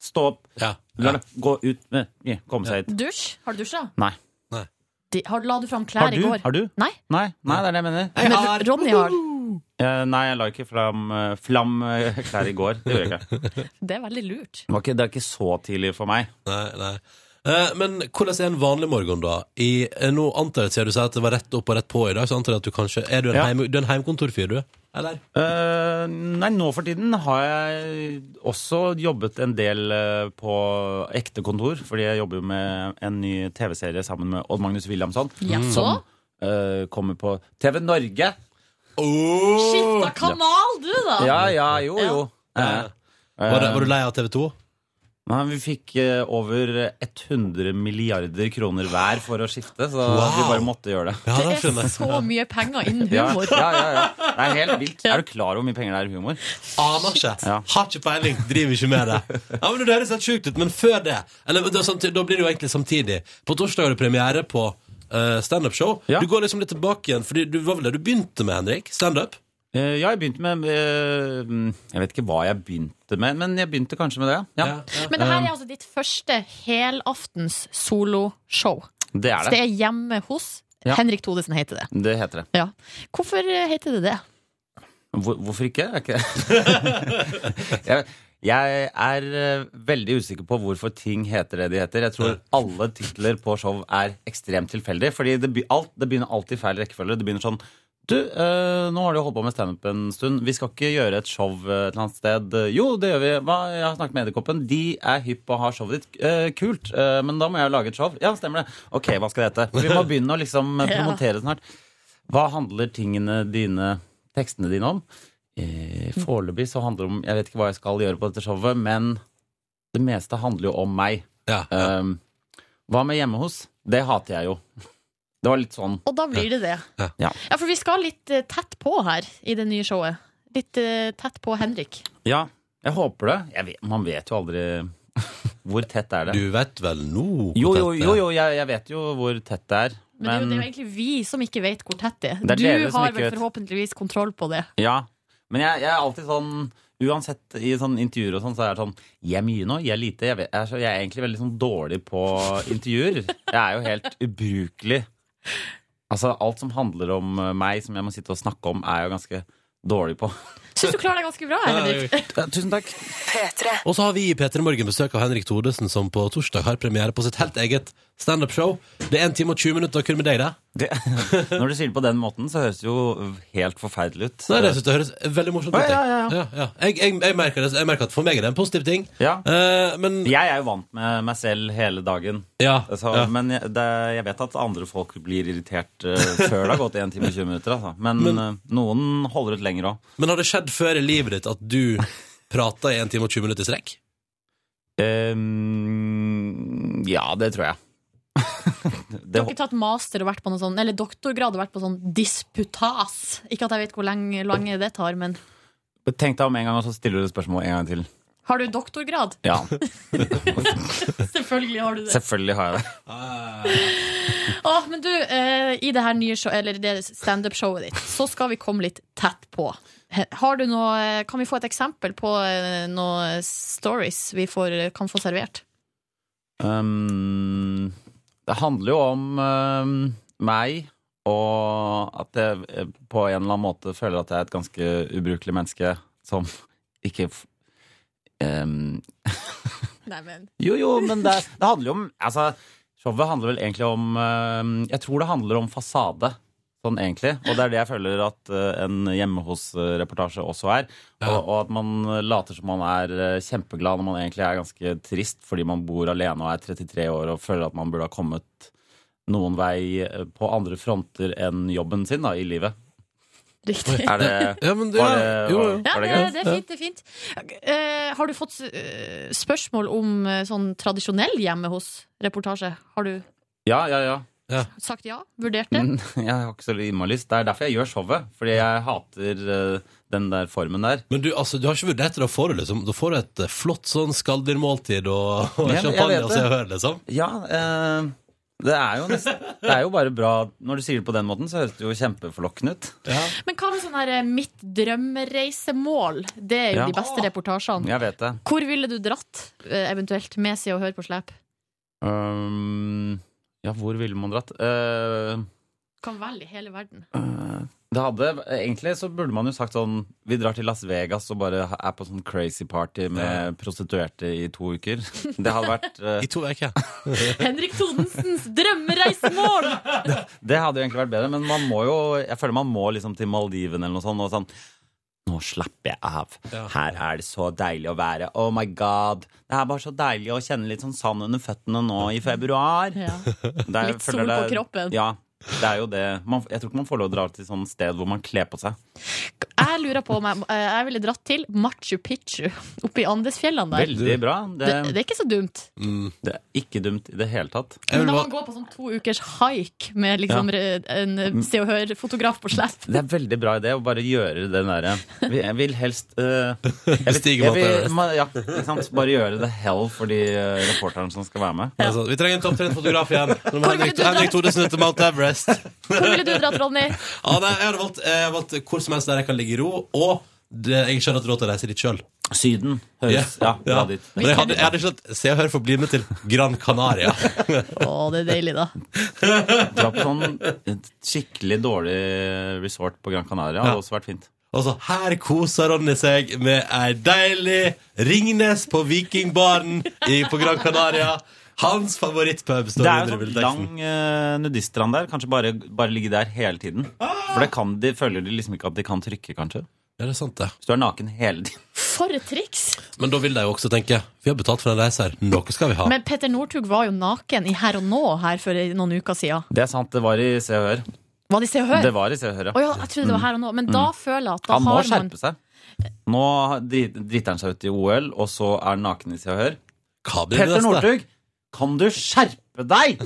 Stå opp! Ja. La det gå ut! eh, ja, komme seg hit. Dusj? Har du dusja? Nei. Nei. De, har, la du fram Har klær du? i går? Har du? Nei. Nei, nei, det er det jeg mener. Jeg Men har- Ronny har Eh, nei, jeg la ikke fram, eh, flam eh, klær i går. Det gjorde jeg ikke. Det er veldig lurt. Det, var ikke. det er ikke så tidlig for meg. Nei, nei. Eh, Men hvordan er en vanlig morgen, da? I, eh, nå antar jeg, siden du sier at det var rett opp og rett på i dag, så antar jeg at du kanskje Er du en, Ja. heim, du er en heimkontorfyr, du? Eller? Eh, nei, nå for tiden har jeg også jobbet en del eh, på ekte kontor, fordi jeg jobber jo med en ny TV-serie sammen med Odd Magnus Williamson. Jaså? Som eh, kommer på TV Norge. Skifta kanal, du, da! Sånn. Ja, ja, jo, jo. Ja. Eh, Var, det, var du lei av TV 2? Nei, vi fikk eh, over 100 milliarder kroner hver for å skifte, så Wow. vi bare måtte gjøre det. Ja, Det det skjønner er jeg. så mye penger innen Ja, humor. ja, ja, ja. Det er helt vilt. Er du klar over hvor mye penger det er i humor? Aner ikke. Ja. Har ikke peiling. Driver ikke med det. Ja, men Det høres helt sjukt ut, men før det Eller da, samti- da blir det jo egentlig samtidig. På torsdag har du premiere på uh, standup-show. Ja. Du går liksom litt tilbake igjen, for du var vel det du begynte med, Henrik? Standup? Eh, ja, jeg begynte med eh, mm, Jeg vet ikke hva jeg begynte med, men jeg begynte kanskje med det. Ja, Men det her Eh. er altså ditt første helaftens soloshow. Det Så er det det. er hjemme hos Ja. Henrik Thodesen heter det. Det heter det. Ja. Hvorfor eh, heter det det? Hvor, hvorfor ikke? Er ikke jeg, jeg er eh, veldig usikker på hvorfor ting heter det de heter. Jeg tror alle titler på show er ekstremt tilfeldig. Fordi det, be- alt, det begynner alltid i feil rekkefølge. Det begynner sånn du, eh, nå har du holdt på med standup en stund. Vi skal ikke gjøre et show eh, et eller annet sted. Jo, det gjør vi. Hva? Jeg har snakket med Edderkoppen. De er hypp på å ha showet ditt. Eh, kult. Eh, men da må jeg jo lage et show. Ja, stemmer det. Ok, hva skal det hete? Vi må begynne å liksom eh, Ja. promotere snart. Hva handler tingene dine, tekstene dine om? Eh, Mm. Foreløpig så handler det om Jeg vet ikke hva jeg skal gjøre på dette showet, men det meste handler jo om meg. Ja. Um, hva med hjemme hos? Det hater jeg jo. Det var litt sånn. Og da blir det det. Ja. Ja. Ja, for vi skal litt eh, tett på her i det nye showet. Litt eh, tett på Henrik. Ja, jeg håper det. Jeg vet, man vet jo aldri Hvor tett er det? Du vet vel nå hvor Jo, jo, tett det er? jo, jo jeg, jeg vet jo hvor tett det er. Men, det, er jo, det er jo egentlig vi som ikke vet hvor tett det er. Det er du dere som har ikke vel vet. forhåpentligvis kontroll på det. Ja, men jeg, jeg er alltid sånn Uansett i sånn intervjuer og sånn, så er jeg sånn Jeg er mye nå, jeg er lite. Jeg, vet, jeg, er, så, jeg er egentlig veldig sånn dårlig på intervjuer. Jeg er jo helt ubrukelig. Altså, alt som handler om eh, meg, som jeg må sitte og snakke om, er jeg jo ganske dårlig på. Syns du klarer deg ganske bra, Henrik. Eh, Tusen takk. Og så har vi i P3 Morgen besøk av Henrik Thodesen, som på torsdag har premiere på sitt helt eget standup-show. Det er 1 time og 20 minutter kun med deg, det. Det, når du sier det på den måten, så høres det jo helt forferdelig ut. Nei, det synes jeg høres veldig morsomt ut. jeg. Ja, ja, ja. Jeg, jeg, jeg, merker det, jeg merker at for meg er det en positiv ting. Ja. Eh, men Jeg er jo vant med meg selv hele dagen. Ja, Så, ja. Altså, Men jeg, det, jeg vet at andre folk blir irritert eh, før det har gått 1 time og 20 minutter. Altså. Men, eh, noen holder ut lenger òg. Men har det skjedd før i livet ditt at du prata i 1 time og 20 minutter i strekk? ja, Ehm, det tror jeg. Det, Du har ikke tatt master og vært på noe sånn, eller doktorgrad og vært på sånn disputas. Ikke at jeg vet hvor lenge, lange det tar, men tenk deg om en gang, og så stiller du et spørsmål en gang til. har du doktorgrad? Ja, Selvfølgelig har du det. selvfølgelig har jeg det. Åh, men du, eh, i det her nye show, eller det standup-showet ditt, så skal vi komme litt tett på. He- Har du noe, eh, kan vi få et eksempel på eh, noen stories vi får, eh, kan få servert? Um, det handler jo om um, meg, og at jeg eh, på en eller annen måte føler at jeg er et ganske ubrukelig menneske som ikke f- um, Nei, men Jo, jo, men det, det handler jo om altså, Showet handler vel egentlig om eh, Jeg tror det handler om fasade. Sånn egentlig, Og det er det jeg føler at eh, en hjemme hos-reportasje også er. Og, og at man later som man er eh, kjempeglad når man egentlig er ganske trist fordi man bor alene og er 33 år og føler at man burde ha kommet noen vei eh, på andre fronter enn jobben sin da, i livet. riktig. Er det, Ja, men det, var det, jo, var, jo. Ja, var det, det greit? det er fint. det er fint Eh, Har du fått eh, spørsmål om eh, sånn tradisjonell hjemme hos-reportasje? Har du Ja, ja, ja. sagt ja? Vurdert det? Mm, Jeg har ikke så innmari lyst. Det er derfor jeg gjør showet. Fordi jeg hater eh, den der formen der. Men du, altså, du har ikke vurdert det, da får du liksom Da får du et eh, flott sånn skalldyrmåltid og, og Jeg- jeg champagne vet og det. se og hør, liksom. Ja, eh, det er jo nesten Det er jo bare bra Når du sier det på den måten, så høres det jo kjempeforlokkende ut. Men hva med sånn her eh, mitt drømmereisemål? Det er jo Ja. de beste reportasjene. Jeg vet det. Hvor ville du dratt, eh, eventuelt, med Se og Hør på slep? Um, ja, hvor ville man dratt? Eh, Kan velge hele verden. eh, det hadde Egentlig så burde man jo sagt sånn Vi drar til Las Vegas og bare er på sånn crazy party med prostituerte i to uker. Det hadde vært eh, I to uker. Henrik Thodensens drømmereisemål! Det hadde jo egentlig vært bedre, men man må jo Jeg føler man må liksom til Maldiven eller noe sånt og sånn Nå slapper jeg av. Ja. Her er det så deilig å være. Oh my god. Det er bare så deilig å kjenne litt sånn sand under føttene nå i februar. Ja. Det er- Litt føler sol på det er- kroppen. Ja. Det er jo det. Man, jeg tror ikke man får lov å dra til sånn sted hvor man kler på seg. Jeg lurer på om jeg, eh, jeg ville dratt til Machu Picchu oppe i Andesfjellene der. Veldig bra. Det, Det, det er ikke så dumt. det er ikke dumt i det hele tatt. Jeg Men vil da må bare man gå på sånn to ukers hike med liksom re- en eh, Se og Hør-fotograf på slep. Det er veldig bra idé å bare gjøre den derre vi- Jeg vil helst eh, jeg vil, Bestige jeg Mount vil, Everest. ma- ja, ikke sant? Bare gjøre det hell for de eh, reporterne som skal være med. Det er sånn, Vi trenger en topptrent fotograf igjen. Nå må Hvor Henrik, vil du dra? Henrik Thodesen ut til Mount Everest. Hvor ville du dratt, Ronny? Ja, nei, jeg hadde valgt, eh, jeg hadde valgt hvor som helst der jeg kan ligge i ro, og det, jeg skjønner at du råd til å reise dit sjøl. Syden høres Ja, dra dit. Men jeg hadde, jeg hadde ikke latt Se og Hør få bli med til Gran Canaria. Å, det er deilig, da. Dra på sånn et skikkelig dårlig resort på Gran Canaria hadde også vært fint. Og så her koser Ronny seg med ei deilig Ringnes på Vikingbaren i, på Gran Canaria. Hans favorittpub Det står under i er jo sånn lang bildeteksten. eh, nudiststrand der. Kanskje bare, bare ligge der hele tiden. For det kan de, føler de liksom ikke at de kan trykke, kanskje. Ja, det er sant, det. Hvis du er naken hele tiden. For et triks! Men da vil de jo også tenke Vi har betalt for den reisa her. Noe skal vi ha. Men Petter Northug var jo naken i Her og Nå her for noen uker siden. Det er sant, det var i Se og Hør. Var det i Se og Hør? Det var i Se og Hør, Å ja, jeg trodde det var her og nå. Men da føler jeg at da Han må har man skjerpe seg. Nå drit- driter han seg ut i OL, og så er han naken i Se og Hør. Hva blir det Petter neste? Northug, kan du skjerpe deg?!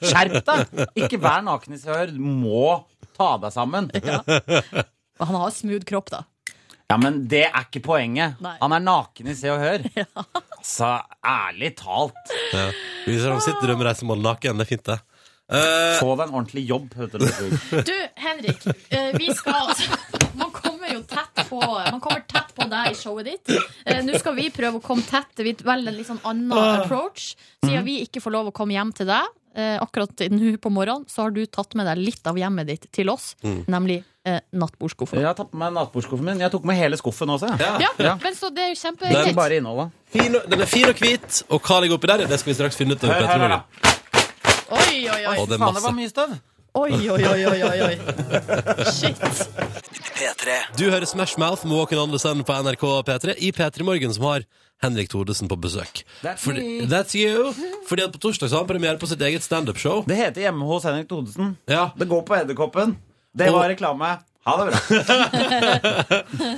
Skjerp deg! Ikke vær naken i Se og Hør. Du må ta deg sammen. Og Han har smooth kropp, da. Ja, men det er ikke poenget. Nei. Han er naken i Se og Hør. Så ærlig talt. Vi ser om sitter du med reisemål naken. Det er fint, det. Eh, Få deg en ordentlig jobb, Petter Northug. Du, Henrik. eh, Vi skal altså Man kommer jo tett på Man kommer tett på deg i showet ditt. Eh, Nå skal vi prøve å komme tett. Vi velger en litt sånn annen approach. Siden vi ikke får lov å komme hjem til deg eh, akkurat nå på morgenen, så har du tatt med deg litt av hjemmet ditt til oss, nemlig eh, nattbordsskuffa. Jeg har tatt med meg nattbordskuffen min. Jeg tok med hele skuffen også. jeg. Ja, Ja. men så det er jo Det er kjempegreit. bare innholdet. fin og- den er fin og hvit, og hva ligger oppi der, det skal vi straks finne ut. av i Hør, Petter hør, Morgen. Oi, oi, oi. Og det er Faen, det masse. var mye støv. Oi, oi, oi, oi, oi, oi. Shit. Du hører Smash Mouth med Håkon Andersen på NRK P3 i P3 Morgen, som har Henrik Thodesen på besøk. That's Fordi, me. that's you! Fordi at på torsdag så har han premiere på sitt eget standup-show. Det heter Hjemme hos Henrik Thodesen. Ja. Det går på Edderkoppen. Det Og- var reklame. Ha det bra.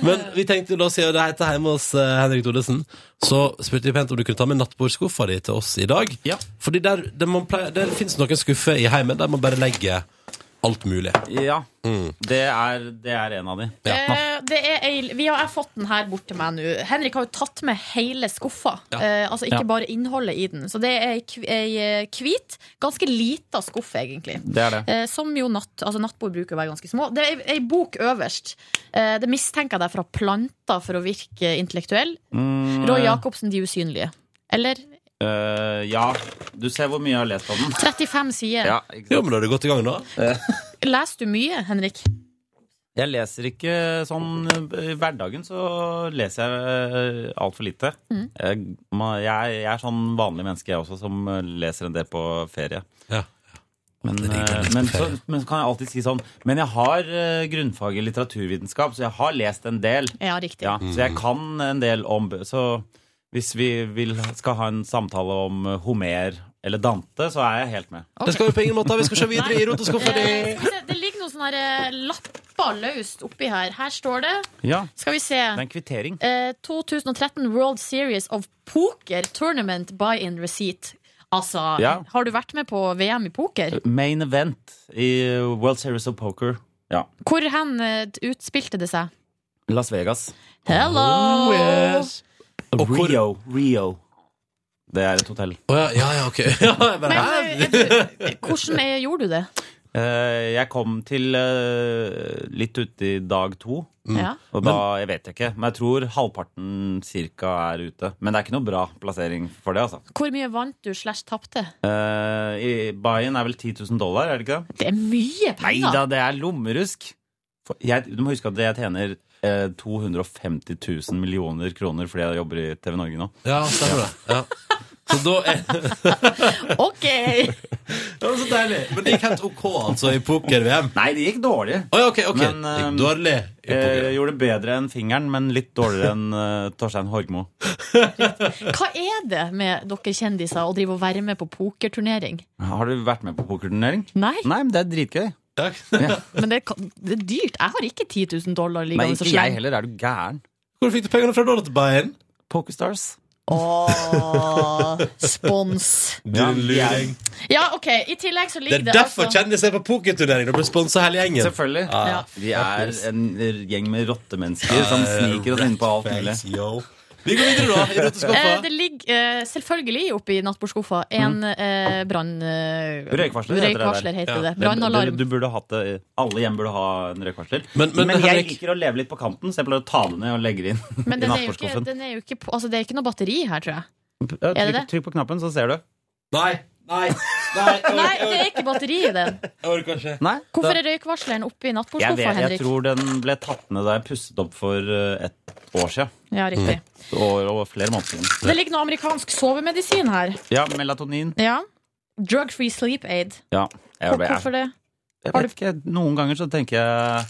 Men vi tenkte jo da, siden det heter hjemme hos eh, Henrik Thodesen, så spurte vi pent om du kunne ta med nattbordskuffa di til oss i dag. Ja. Fordi der, der, man pleier, der finnes noen skuffer i heimen der man bare legger alt mulig. Ja, det er, det er en av de. Eh, det er ei, vi har, jeg har fått den her bort til meg nå. Henrik har jo tatt med hele skuffa. Ja. Eh, altså ikke Ja. bare innholdet i den. Så det er ei, kv- ei eh, hvit, ganske lita skuffe, egentlig. Det er det. Eh, som jo natt, altså nattbord bruker å være ganske små. Det er ei- ei bok øverst. Eh, det mistenker jeg deg fra planta for å virke intellektuell. Mm, Roy Jacobsen, De usynlige. Eller eh, ja, du ser hvor mye jeg har lest om den. 35 sider. Ja, ikke Jo, sant? men da er det godt i gang, da. Leser du mye, Henrik? Jeg leser ikke sånn I hverdagen så leser jeg altfor lite. Jeg, ma- jeg, jeg er sånn vanlig menneske, jeg også, som eh, leser en del på ferie. Ja. Men, Det er digg å eh, lese på men, så, ferie. men så kan jeg alltid si sånn Men jeg har eh, grunnfag i litteraturvitenskap, så jeg har lest en del. Ja, riktig. Ja, så jeg kan en del om bø- Så hvis vi vil, skal ha en samtale om eh, Homer eller Dante, så er jeg helt med. Ok. Det skal vi på ingen måte ha. Vi skal se videre i roteskuffa di. Eh, skal vi se, det ligger noen sånne her, eh, lapper løst oppi her. Her står det Ja, Skal vi se. det er en kvittering. Eh, 2013 World Series of Poker Tournament Buy-in Receipt. Altså, Ja. har du vært med på VM i poker? Main event i World Series of Poker. Ja. Hvor hen eh, utspilte det seg? Las Vegas. Hello! Oh, Og hvor- Rio. Rio. Det er et hotell. Å ja, ja, ja, ok. Ja, jeg bare, Men hæ? eh, er du- hvordan er, gjorde du det? Eh, Jeg kom til eh, litt ute i dag to. Ja. Og da, jeg vet ikke, men jeg tror halvparten cirka er ute. Men det er ikke noe bra plassering for det, altså. Hvor mye vant du slash tapte? Eh, i- Buy-in er vel 10 000 dollar, er det ikke det? Det er mye Nei penger! da, det er lommerusk! For Jeg, du må huske at jeg tjener eh, 250 000 millioner kroner fordi jeg jobber i TV Norge nå. Ja, stemmer det. Ja. Så da er Ok! Det var så deilig. Men det gikk helt OK, altså, i poker-VM. Nei, det gikk dårlig. Å ja, OK. ok Det Men, gikk ehm, eh, dårlig i poker. Jeg gjorde det bedre enn fingeren, men litt dårligere enn eh, Torstein Horgmo. Hva er det med dere kjendiser å drive og være med på pokerturnering? Har du vært med på pokerturnering? Nei, Nei, men det er dritgøy. Takk. men det, kan- det er dyrt. Jeg har ikke 10 000 dollar Nei, liggende ikke og jeg slenge. heller. Er du gæren? Hvor fikk du pengene fra da, til Bayern? Pokerstars. Åh, spons. Ja, jeg- Ja, ok, i tillegg så Det ligger er det, derfor altså kjendiser er på pokerturnering. Da blir sponsa hele gjengen. Selvfølgelig. Ja. Vi er en gjeng med rottemennesker som sniker oss inn på alt mulig. Thanks, Eh, yo. Vi går videre, da. I Eh, roteskuffa. det ligger eh, selvfølgelig oppi nattbordskuffa Mm. en eh, brann... eh, Røykvarsler heter det der. røykvarsler heter Ja. det. Du, Brannalarm. du burde hatt det, alle hjem burde ha en røykvarsler. Men- men- jeg Henrik- liker å leve litt på kanten, så jeg pleier å ta det ned og legge det inn Men i den er jo ikke, nattbordskuffen. den er jo ikke på, altså, det er ikke noe batteri her, tror jeg. Ja, det Trykk, det? trykk på knappen, så ser du. Nei, nei, nei. Jeg Nei, orker- det er ikke batteri i den. Jeg orker ikke. Nei, da- Hvorfor er røykvarsleren oppi jeg, nattbordskuffa, vet, jeg Henrik? tror den ble tatt ned da jeg pusset opp for eh, et år siden. Ja, riktig. Mm. Og, og flere måneder siden. Det ligger noe amerikansk sovemedisin her. Ja, melatonin. Ja. Drug Free Sleep Aid. Ja. Jeg, jeg, Hvorfor det? jeg vet ikke, noen ganger så tenker jeg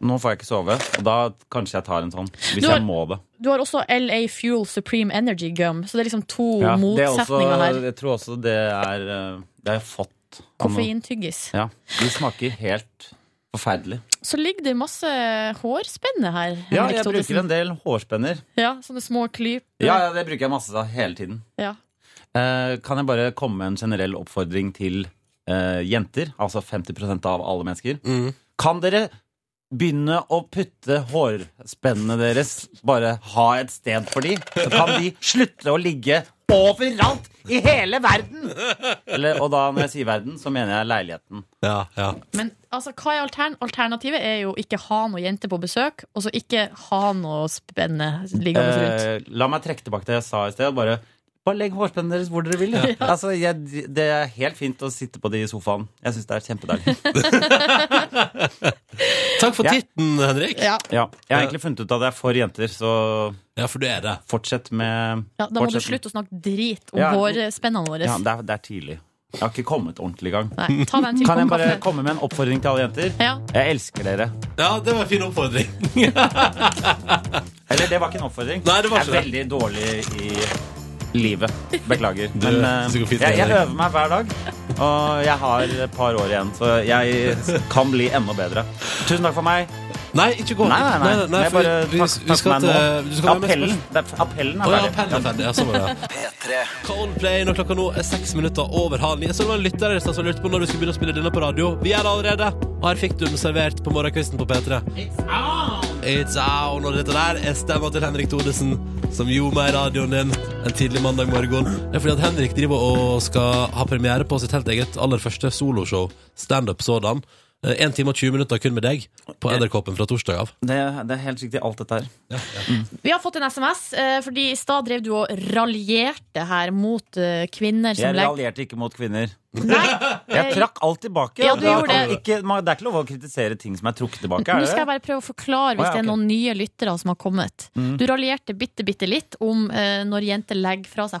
nå får jeg ikke sove, og da kanskje jeg tar en sånn. Hvis Du har- jeg må det. Du har også LA Fuel Supreme Energy Gum, så det er liksom to Ja, det er også, motsetninger her. jeg tror også det er eh, Det har jeg fått. av noen. Koffeintyggis. Ja, De smaker helt forferdelig. Så ligger det masse hårspenne her. Ja, Henrik jeg Thodesen. bruker en del hårspenner. Ja, Sånne små klyp. Ja, ja, Det bruker jeg masse av hele tiden. Ja. Eh, kan jeg bare komme med en generell oppfordring til eh, jenter? Altså 50 av alle mennesker. Kan dere begynne å putte hårspennene deres Bare ha et sted for de? Så kan de slutte å ligge overalt i hele verden! Eller, og da når jeg sier verden, så mener jeg leiligheten. Ja, ja. Men altså, hva er altern alternativet? er jo ikke ha noe jente på besøk, og så ikke ha noe spenne liggende rundt. Eh, la meg trekke tilbake det jeg sa i sted. og Bare, bare legg hårspennene deres hvor dere vil. Altså, jeg, det er helt fint å sitte på de i sofaen. Jeg syns det er kjempedeilig. Takk for Ja. titten, Henrik. Ja, Ja, jeg har egentlig funnet ut at jeg er for jenter, så Ja, for du er det. fortsett med ja, Da må du fortsett. slutte å snakke drit om Ja. hårspennene våre. Ja, det er, det er tidlig. Jeg har ikke kommet ordentlig i gang. Nei, ta deg en til Kan kopp jeg bare kaffe. komme med en oppfordring til alle jenter? Ja. Jeg elsker dere. Ja, det var en fin oppfordring. Eller det var ikke en oppfordring. Nei, det var jeg er veldig dårlig i livet. Beklager. Du, Men det går eh, fint, jeg, jeg Henrik. øver meg hver dag, og jeg har et par år igjen, så jeg kan bli enda bedre. Tusen takk for meg. Nei, ikke gå. Nei, nei, nei. nei, Jeg for bare vi, takk, vi skal takk for meg til nå. du skal være med appellen, spørsmål. det er, appellen Å er ja, ferdig. appellen er ferdig. Ja, sånn var det. Coldplay når klokka nå er seks minutter over halv ni. Så det var en lytter der i stad som lurte på når du skulle begynne å spille denne på radio. Vi er det allerede, og her fikk du den servert på morgenkvisten på P3. It's on! It's on, Og dette der er stemma til Henrik Thodesen, som gjorde meg radioen din en tidlig mandag morgen. Det er fordi at Henrik driver og skal ha premiere på sitt helt eget aller første soloshow, standup sådan. Eh, En time og 20 minutter kun med deg på Edderkoppen fra torsdag av. Det, det er helt riktig, alt dette her. Vi har fått en SMS, eh, fordi i stad drev du og raljerte her mot eh, kvinner som Jeg legger raljerte ikke mot kvinner. Nei, Jeg trakk alt tilbake. Ja, du Da gjorde kan det. Ikke, man, det er ikke lov å kritisere ting som er trukket tilbake. Nå Er skal jeg det? bare prøve å forklare hvis Å, ja, det er ok. Mm. noen nye lyttere som har kommet. Du raljerte bitte, bitte litt om eh, når jenter legger fra seg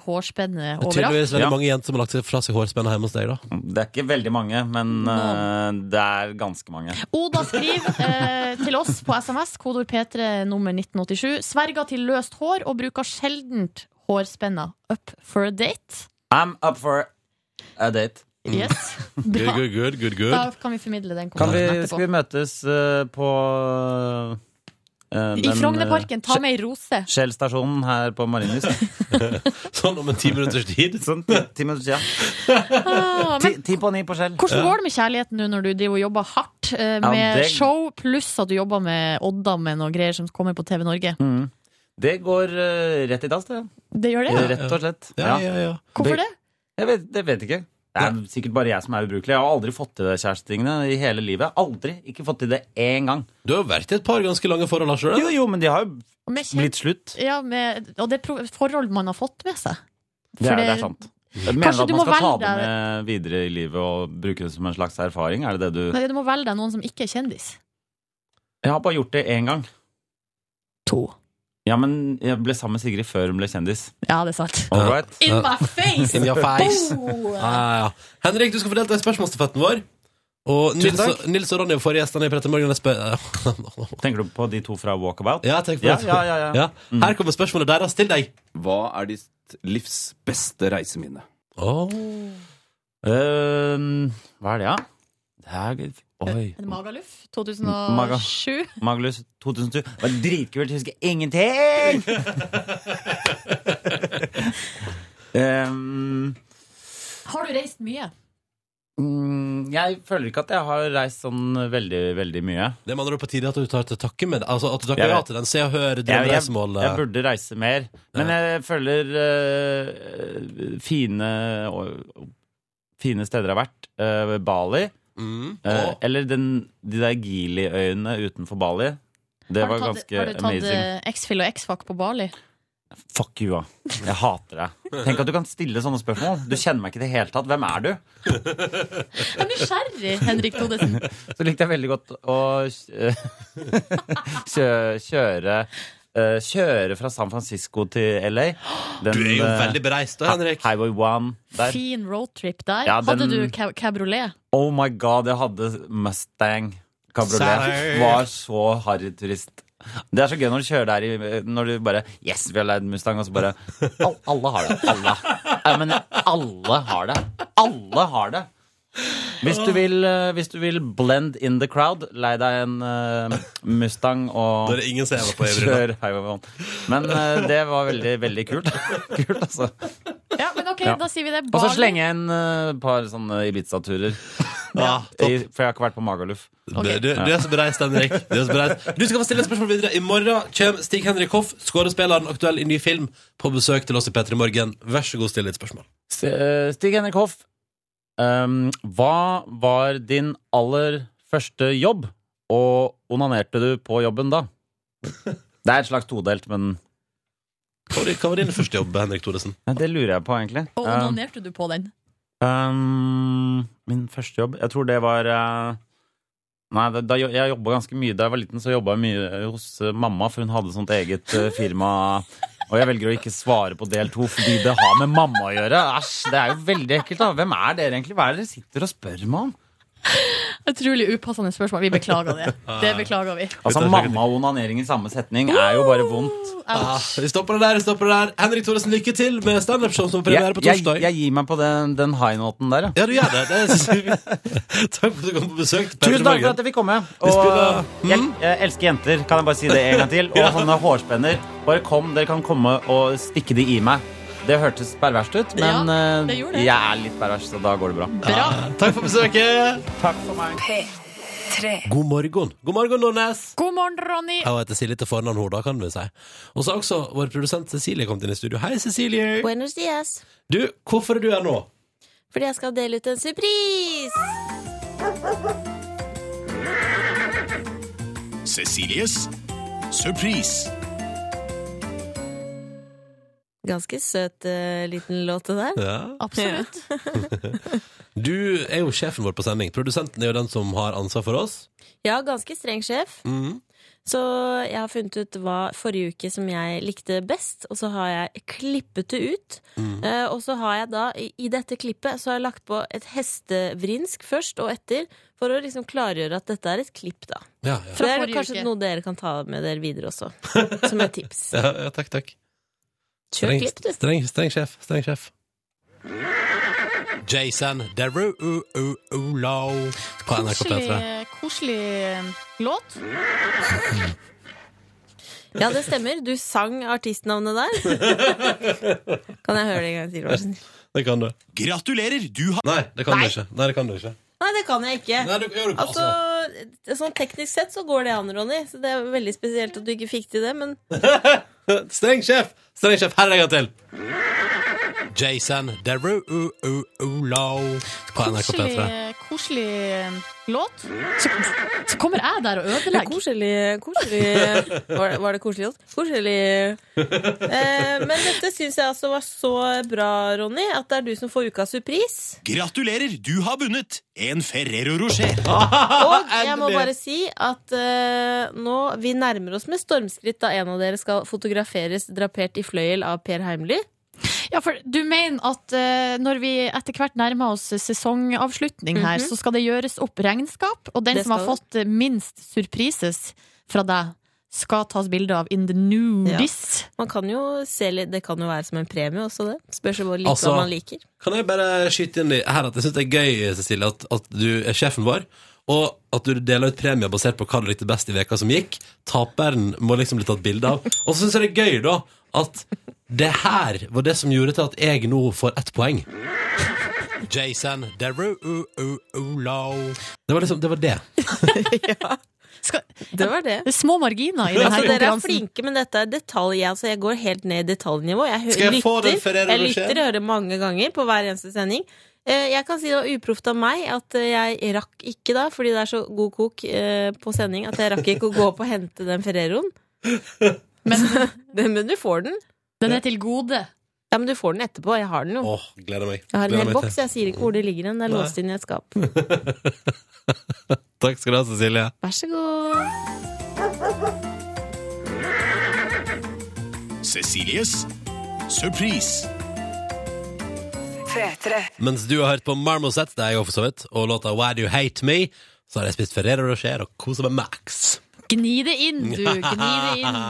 Det hårspennet er overalt. tydeligvis veldig Ja. mange jenter som har lagt seg fra seg hårspennet hjemme hos deg, da. det er ikke veldig mange, men eh, det er ganske mange. Oda skriver eh, til oss på SMS, kodord P3 nummer 1987, sverger til løst hår og bruker sjeldent hårspenna up for a date. I'm up for a date. Yes. Good, Bra. good, good, good, good. Da kan vi formidle den Kan vi, kommentaren skal vi etterpå. møtes eh, på eh, I den, Frognerparken, ta eh, med ei rose. Shell-stasjonen her på Marienlyst. Sånn om en ti minutters tid. Sånn ti, ti minutter siden. Ah, Ti, men ti på ni på Shell. hvordan går det med kjærligheten nå når du driver og jobber hardt eh, med det- show, pluss at du jobber med Oddammen og greier som kommer på TV Norge? Mm. Det går eh, rett i dass, det. Eh, Det gjør det? ja. Rett og slett. Ja, ja, ja. Hvorfor det? Jeg vet, det vet ikke. Det er sikkert bare jeg som er ubrukelig. Jeg har aldri fått til det kjærestetingene i hele livet. Aldri. Ikke fått til det én gang. Du har jo vært i et par ganske lange forhold, har ikke du Jo, det? jo, men de har jo Med kjent- blitt slutt. ja, med, og det er pro- forhold man har fått med seg. Det For er, det det- er sant. Jeg mener Kanskje at du man må skal ta velge det med videre i livet og bruke det som en slags erfaring? Er det det du Nei, du må velge deg noen som ikke er kjendis. Jeg har bare gjort det én gang. To. Ja, men jeg ble sammen med Sigrid før hun ble kjendis. Ja, det er sant. All right. In my face! In your face. Oh. Ja, ja, ja. Henrik, du skal få delta i spørsmålsstafetten vår. Og Nils, og Nils og Ronny var forrige gjestene i Petter Morgen. jeg spør- Tenker du på de to fra Walkabout? Ja, tenk på Ja, det. ja, ja, ja. Ja. Her kommer spørsmålet deres til deg. Hva er ditt livs beste reiseminne? Åh. Øhm, Ehm, hva er det, da? Det er Oi. En Magaluf Maga. 2007. Maglus 2007. Det var dritkult. Jeg husker ingenting! Ehm, Har du reist mye? mm, jeg føler ikke at jeg har reist sånn veldig, veldig mye. Det er med andre ord på tide at du tar til takke med Altså at du takker Jeg ja vet. til den Se og Hør Jeg, jeg, jeg drømmereisemålet. burde reise mer. Men jeg føler eh, fine, og- fine steder jeg har vært. Eh, Bali. Mm. eh, Åh. Eller den, de der Gili-øyene utenfor Bali. Det Har var du tatt, ganske har du tatt amazing. eh, X-Fill og X-Fac på Bali? Fuck you, ah. Jeg hater deg. Tenk at du kan stille sånne spørsmål. Du kjenner meg ikke i det hele tatt. Hvem er du? Jeg er nysgjerrig, Henrik Thodesen. Så likte jeg veldig godt å eh, kjø, kjøre eh, Kjøre fra San Francisco til LA. Den, Du er jo eh, veldig bereist, da, Henrik. Highway 1 der. Fin roadtrip der. Ja, den- Hadde du ca- cabriolet? Oh my god, jeg hadde Mustang kabriolet. Serr? Var så harryturist. Det er så gøy når du kjører der i, når du bare Yes, vi har leid Mustang, og så bare Al Alle har det. Alle. Jeg mener, alle har det. Alle har det. Hvis du vil, eh, hvis du vil blend in the crowd, lei deg en eh, Mustang Da og er det ingen som er med på Øybrygga. kjør Highway 1. Men eh, det var veldig, veldig kult. kult altså. Ja, men ok, Ja. da sier vi det. Og så Bali. slenge en eh, par sånne Ibiza-turer. Ja, topp. I- For jeg har ikke vært på Magaluf. Ok. Det- Du, du er så bereist, Henrik. Du, er så bereist. du skal få stille et spørsmål videre. I morgen kommer Stig Henrik Hoff, skuespilleren aktuell i ny film, på besøk til oss i P3 Morgen. Vær så god, still ditt spørsmål. S- eh, Stig Henrik Hoff, ehm, hva var din aller første jobb, og onanerte du på jobben da? Det er et slags todelt, men Hva var din- hva var din første jobb, Henrik Thodesen? ja, det lurer jeg på, egentlig. Og onanerte du på den? Ehm, min første jobb Jeg tror det var eh, Nei, da, da, jo- jeg jobba ganske mye da jeg var liten, så jobba jeg mye eh, hos eh, mamma, for hun hadde sånt eget eh, firma. Og jeg velger å ikke svare på del to, fordi det har med mamma å gjøre. Æsj, det er jo veldig ekkelt, da. Hvem er dere egentlig? Hva er det dere sitter og spør meg om? Utrolig upassende spørsmål. Vi beklager det. Det beklager vi. Altså, mamma og onanering i samme setning er jo bare vondt. Ah, vi stopper det der. vi stopper det der Henrik Thoresen, lykke til med standup-show som Jeg, premiere på jeg, torsdag. jeg gir meg på den, den high-noten der, ja. Ja, du gjør det. det er så- Takk for at du kom på besøk. Petter Tusen takk for Morgen. at jeg fikk komme. Og eh, spiller- hmm? jeg, jeg elsker jenter, kan jeg bare si det en gang til. Og sånne hårspenner. Bare kom, dere kan komme og stikke de i meg. Det hørtes perverst ut, men Ja, det eh, gjorde det. jeg er litt pervers, så da går det bra. Bra. Takk for besøket. Takk for meg. God morgen. God morgen, Nordnes. God morgen, Ronny. Jeg heter Silje til fornavn, hun, da, kan vi si. Og så har også vår produsent Cecilie kommet inn i studio. Hei, Cecilie. Buenos dias. Du, hvorfor er du her nå? Fordi jeg skal dele ut en surprise! Cecilies surprise. Ganske søt eh, liten låt, det der. Ja. Absolutt. Du er jo sjefen vår på sending. Produsenten er jo den som har ansvar for oss. Ja, ganske streng sjef. Mhm. Så jeg har funnet ut hva forrige uke som jeg likte best, og så har jeg klippet det ut. Mhm. Eh, og så har jeg da, i i dette klippet, så har jeg lagt på et hestevrinsk først og etter, for å liksom klargjøre at dette er et klipp, da. Ja, ja. Fra det er forrige kanskje uke. noe dere kan ta med dere videre også, som et tips. ja, ja takk, takk. Kjør klipp, du. streng, streng sjef. Streng sjef. Jason Derulo på NRK P3. Koselig, koselig eh, låt. Ja, det stemmer. Du sang artistnavnet der. kan jeg høre det en gang til, vær så snill? Det kan du. Gratulerer, du har Nei, det kan Nei. du ikke. Nei, det kan du ikke. Nei, det kan jeg ikke. Nei, du, gjør du, Altså, sånn teknisk sett så går det an, Ronny. Så det er veldig spesielt at du ikke fikk til det, men Streng sjef! Streng sjef, her er jeg en til! Jason Derulo på NRK P3. Koselig, eh, koselig eh, låt. Så, så kommer jeg der og ødelegger. Koselig, koselig var, det, var det koselig? Jens? Koselig. Eh, men dette syns jeg altså var så bra, Ronny, at det er du som får ukas surprise. Gratulerer, du har vunnet en Ferrero Rocher. Og jeg må bare si at eh, nå vi nærmer oss med stormskritt da en av dere skal fotograferes drapert i fløyel av Per Heimly. Ja, for du mener at eh, når vi etter hvert nærmer oss sesongavslutning her, så skal det gjøres opp regnskap, og den Det som har skal det. fått eh, minst surprises fra deg, skal tas bilde av in the nudies. Man kan jo se litt, Det kan jo være som en premie også, det. Spørs jo hvor litt Altså- hva man liker. Kan jeg bare skyte inn i her at jeg syns det er gøy, Cecilie, at, at du er sjefen vår, og at du deler ut premier basert på hva du likte best i veka som gikk. Taperen må liksom bli tatt bilde av. Og så syns jeg det er gøy, da, at det her var det som gjorde til at jeg nå får ett poeng. Jason Derulo Det var liksom Det var det. Skal, Det var det. det er små marginer i denne Altså, dere er konkurransen. flinke, men dette er detalj. Jeg, altså, jeg går helt ned i detaljnivå. Jeg, hø- Skal jeg få den lytter, Ferrero jeg Rocher? lytter og hører mange ganger på hver eneste sending. Eh, Jeg kan si det var uproft av meg at eh, jeg rakk ikke da, fordi det er så god kok eh, på sending, at jeg rakk ikke å gå opp og hente den Ferreroen. Men Den- Men du får den. den er til gode. Ja, men du får den etterpå. Jeg har den jo. Åh, gleder meg. Jeg har en Gleder hel meg boks. Jeg sier ikke hvor det ligger den. Det er Nei. låst inn i et skap. til. Takk skal du ha, Cecilie. Vær så god. Cecilies surprise. Mens du har hørt på Marmoset, det er jeg jo for så vidt, og låta Why Do You Hate Me, så har jeg spist Ferrero Rocher og koset meg max. Gni det inn, du. Gni det inn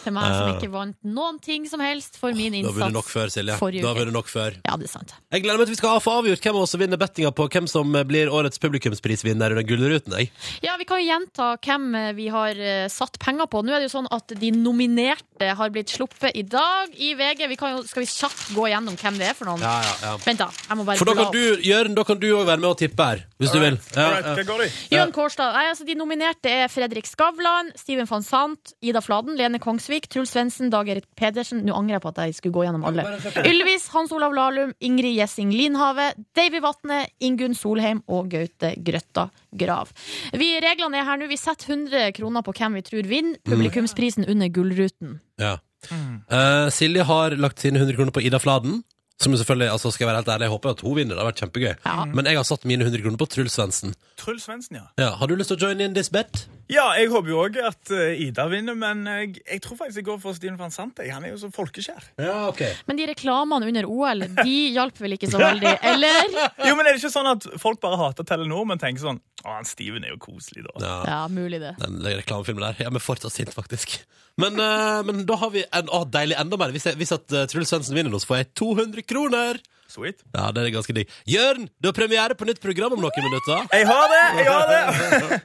til meg som ikke vant noen ting som helst for min Da blir det nok innsats. før, Silje. forrige Da uke. blir det nok før. Ja, det er sant. Jeg gleder meg til vi skal få avgjort hvem av oss som vinner bettinga på hvem som blir årets publikumsprisvinner under Gullruten. Jeg. Ja, Vi kan jo gjenta hvem eh, vi har eh, satt penger på. Nå er det jo sånn at De nominerte har blitt sluppet i dag i VG. Vi kan jo, skal vi kjapt gå gjennom hvem det er for noen? Vent, da. Jeg må bare For da kan bla opp. du, Jørn, da kan du òg være med og tippe her, hvis du vil. Ja, ja. Jørn Kårstad. Nei, altså, de nominerte er Fredrik Skavlan, Steven van Sant, Ida Fladen, Lene Kongsvik, Truls Svendsen, Dag Erik Pedersen Nå angrer jeg på at jeg skulle gå gjennom alle. Ylvis, Hans Olav Lahlum, Ingrid Gjessing Linhave, Davy Vatne, Ingunn Solheim og Gaute Grøtta Grav. Vi, reglene er her nå. Vi setter 100 kroner på hvem vi tror vinner publikumsprisen under Gullruten. Ja. Mm. Eh, Silje har lagt sine 100 kroner på Ida Fladen. Som jo selvfølgelig, altså skal jeg være helt ærlig, jeg håper at hun vinner. Det har vært kjempegøy. Men jeg har satt mine 100 kroner på Truls Svendsen. Truls Svendsen, ja. Ja, har du lyst til å join in this bet? Ja, jeg håper jo òg at eh, Ida vinner, men eh, jeg, jeg tror faktisk jeg går for Stine van Sant. jeg. Han er jo så folkeskjær. Ja, ok. Men de reklamene under OL, de hjalp vel ikke så veldig, eller? Jo, men Er det ikke sånn at folk bare hater Telenor, men tenker sånn Å, han Steven er jo koselig, da. Ja. Ja, mulig det. Den reklamefilmen der. Ja, men fortsatt sint, faktisk. Men, eh, men da har vi en å, deilig enda mer. Hvis, jeg, hvis at eh, Truls Svendsen vinner nå, så får jeg 200 kroner! Sweet. Ja, det er ganske digg. Jørn, du har premiere på nytt program om noen minutter. Jeg har det! jeg har det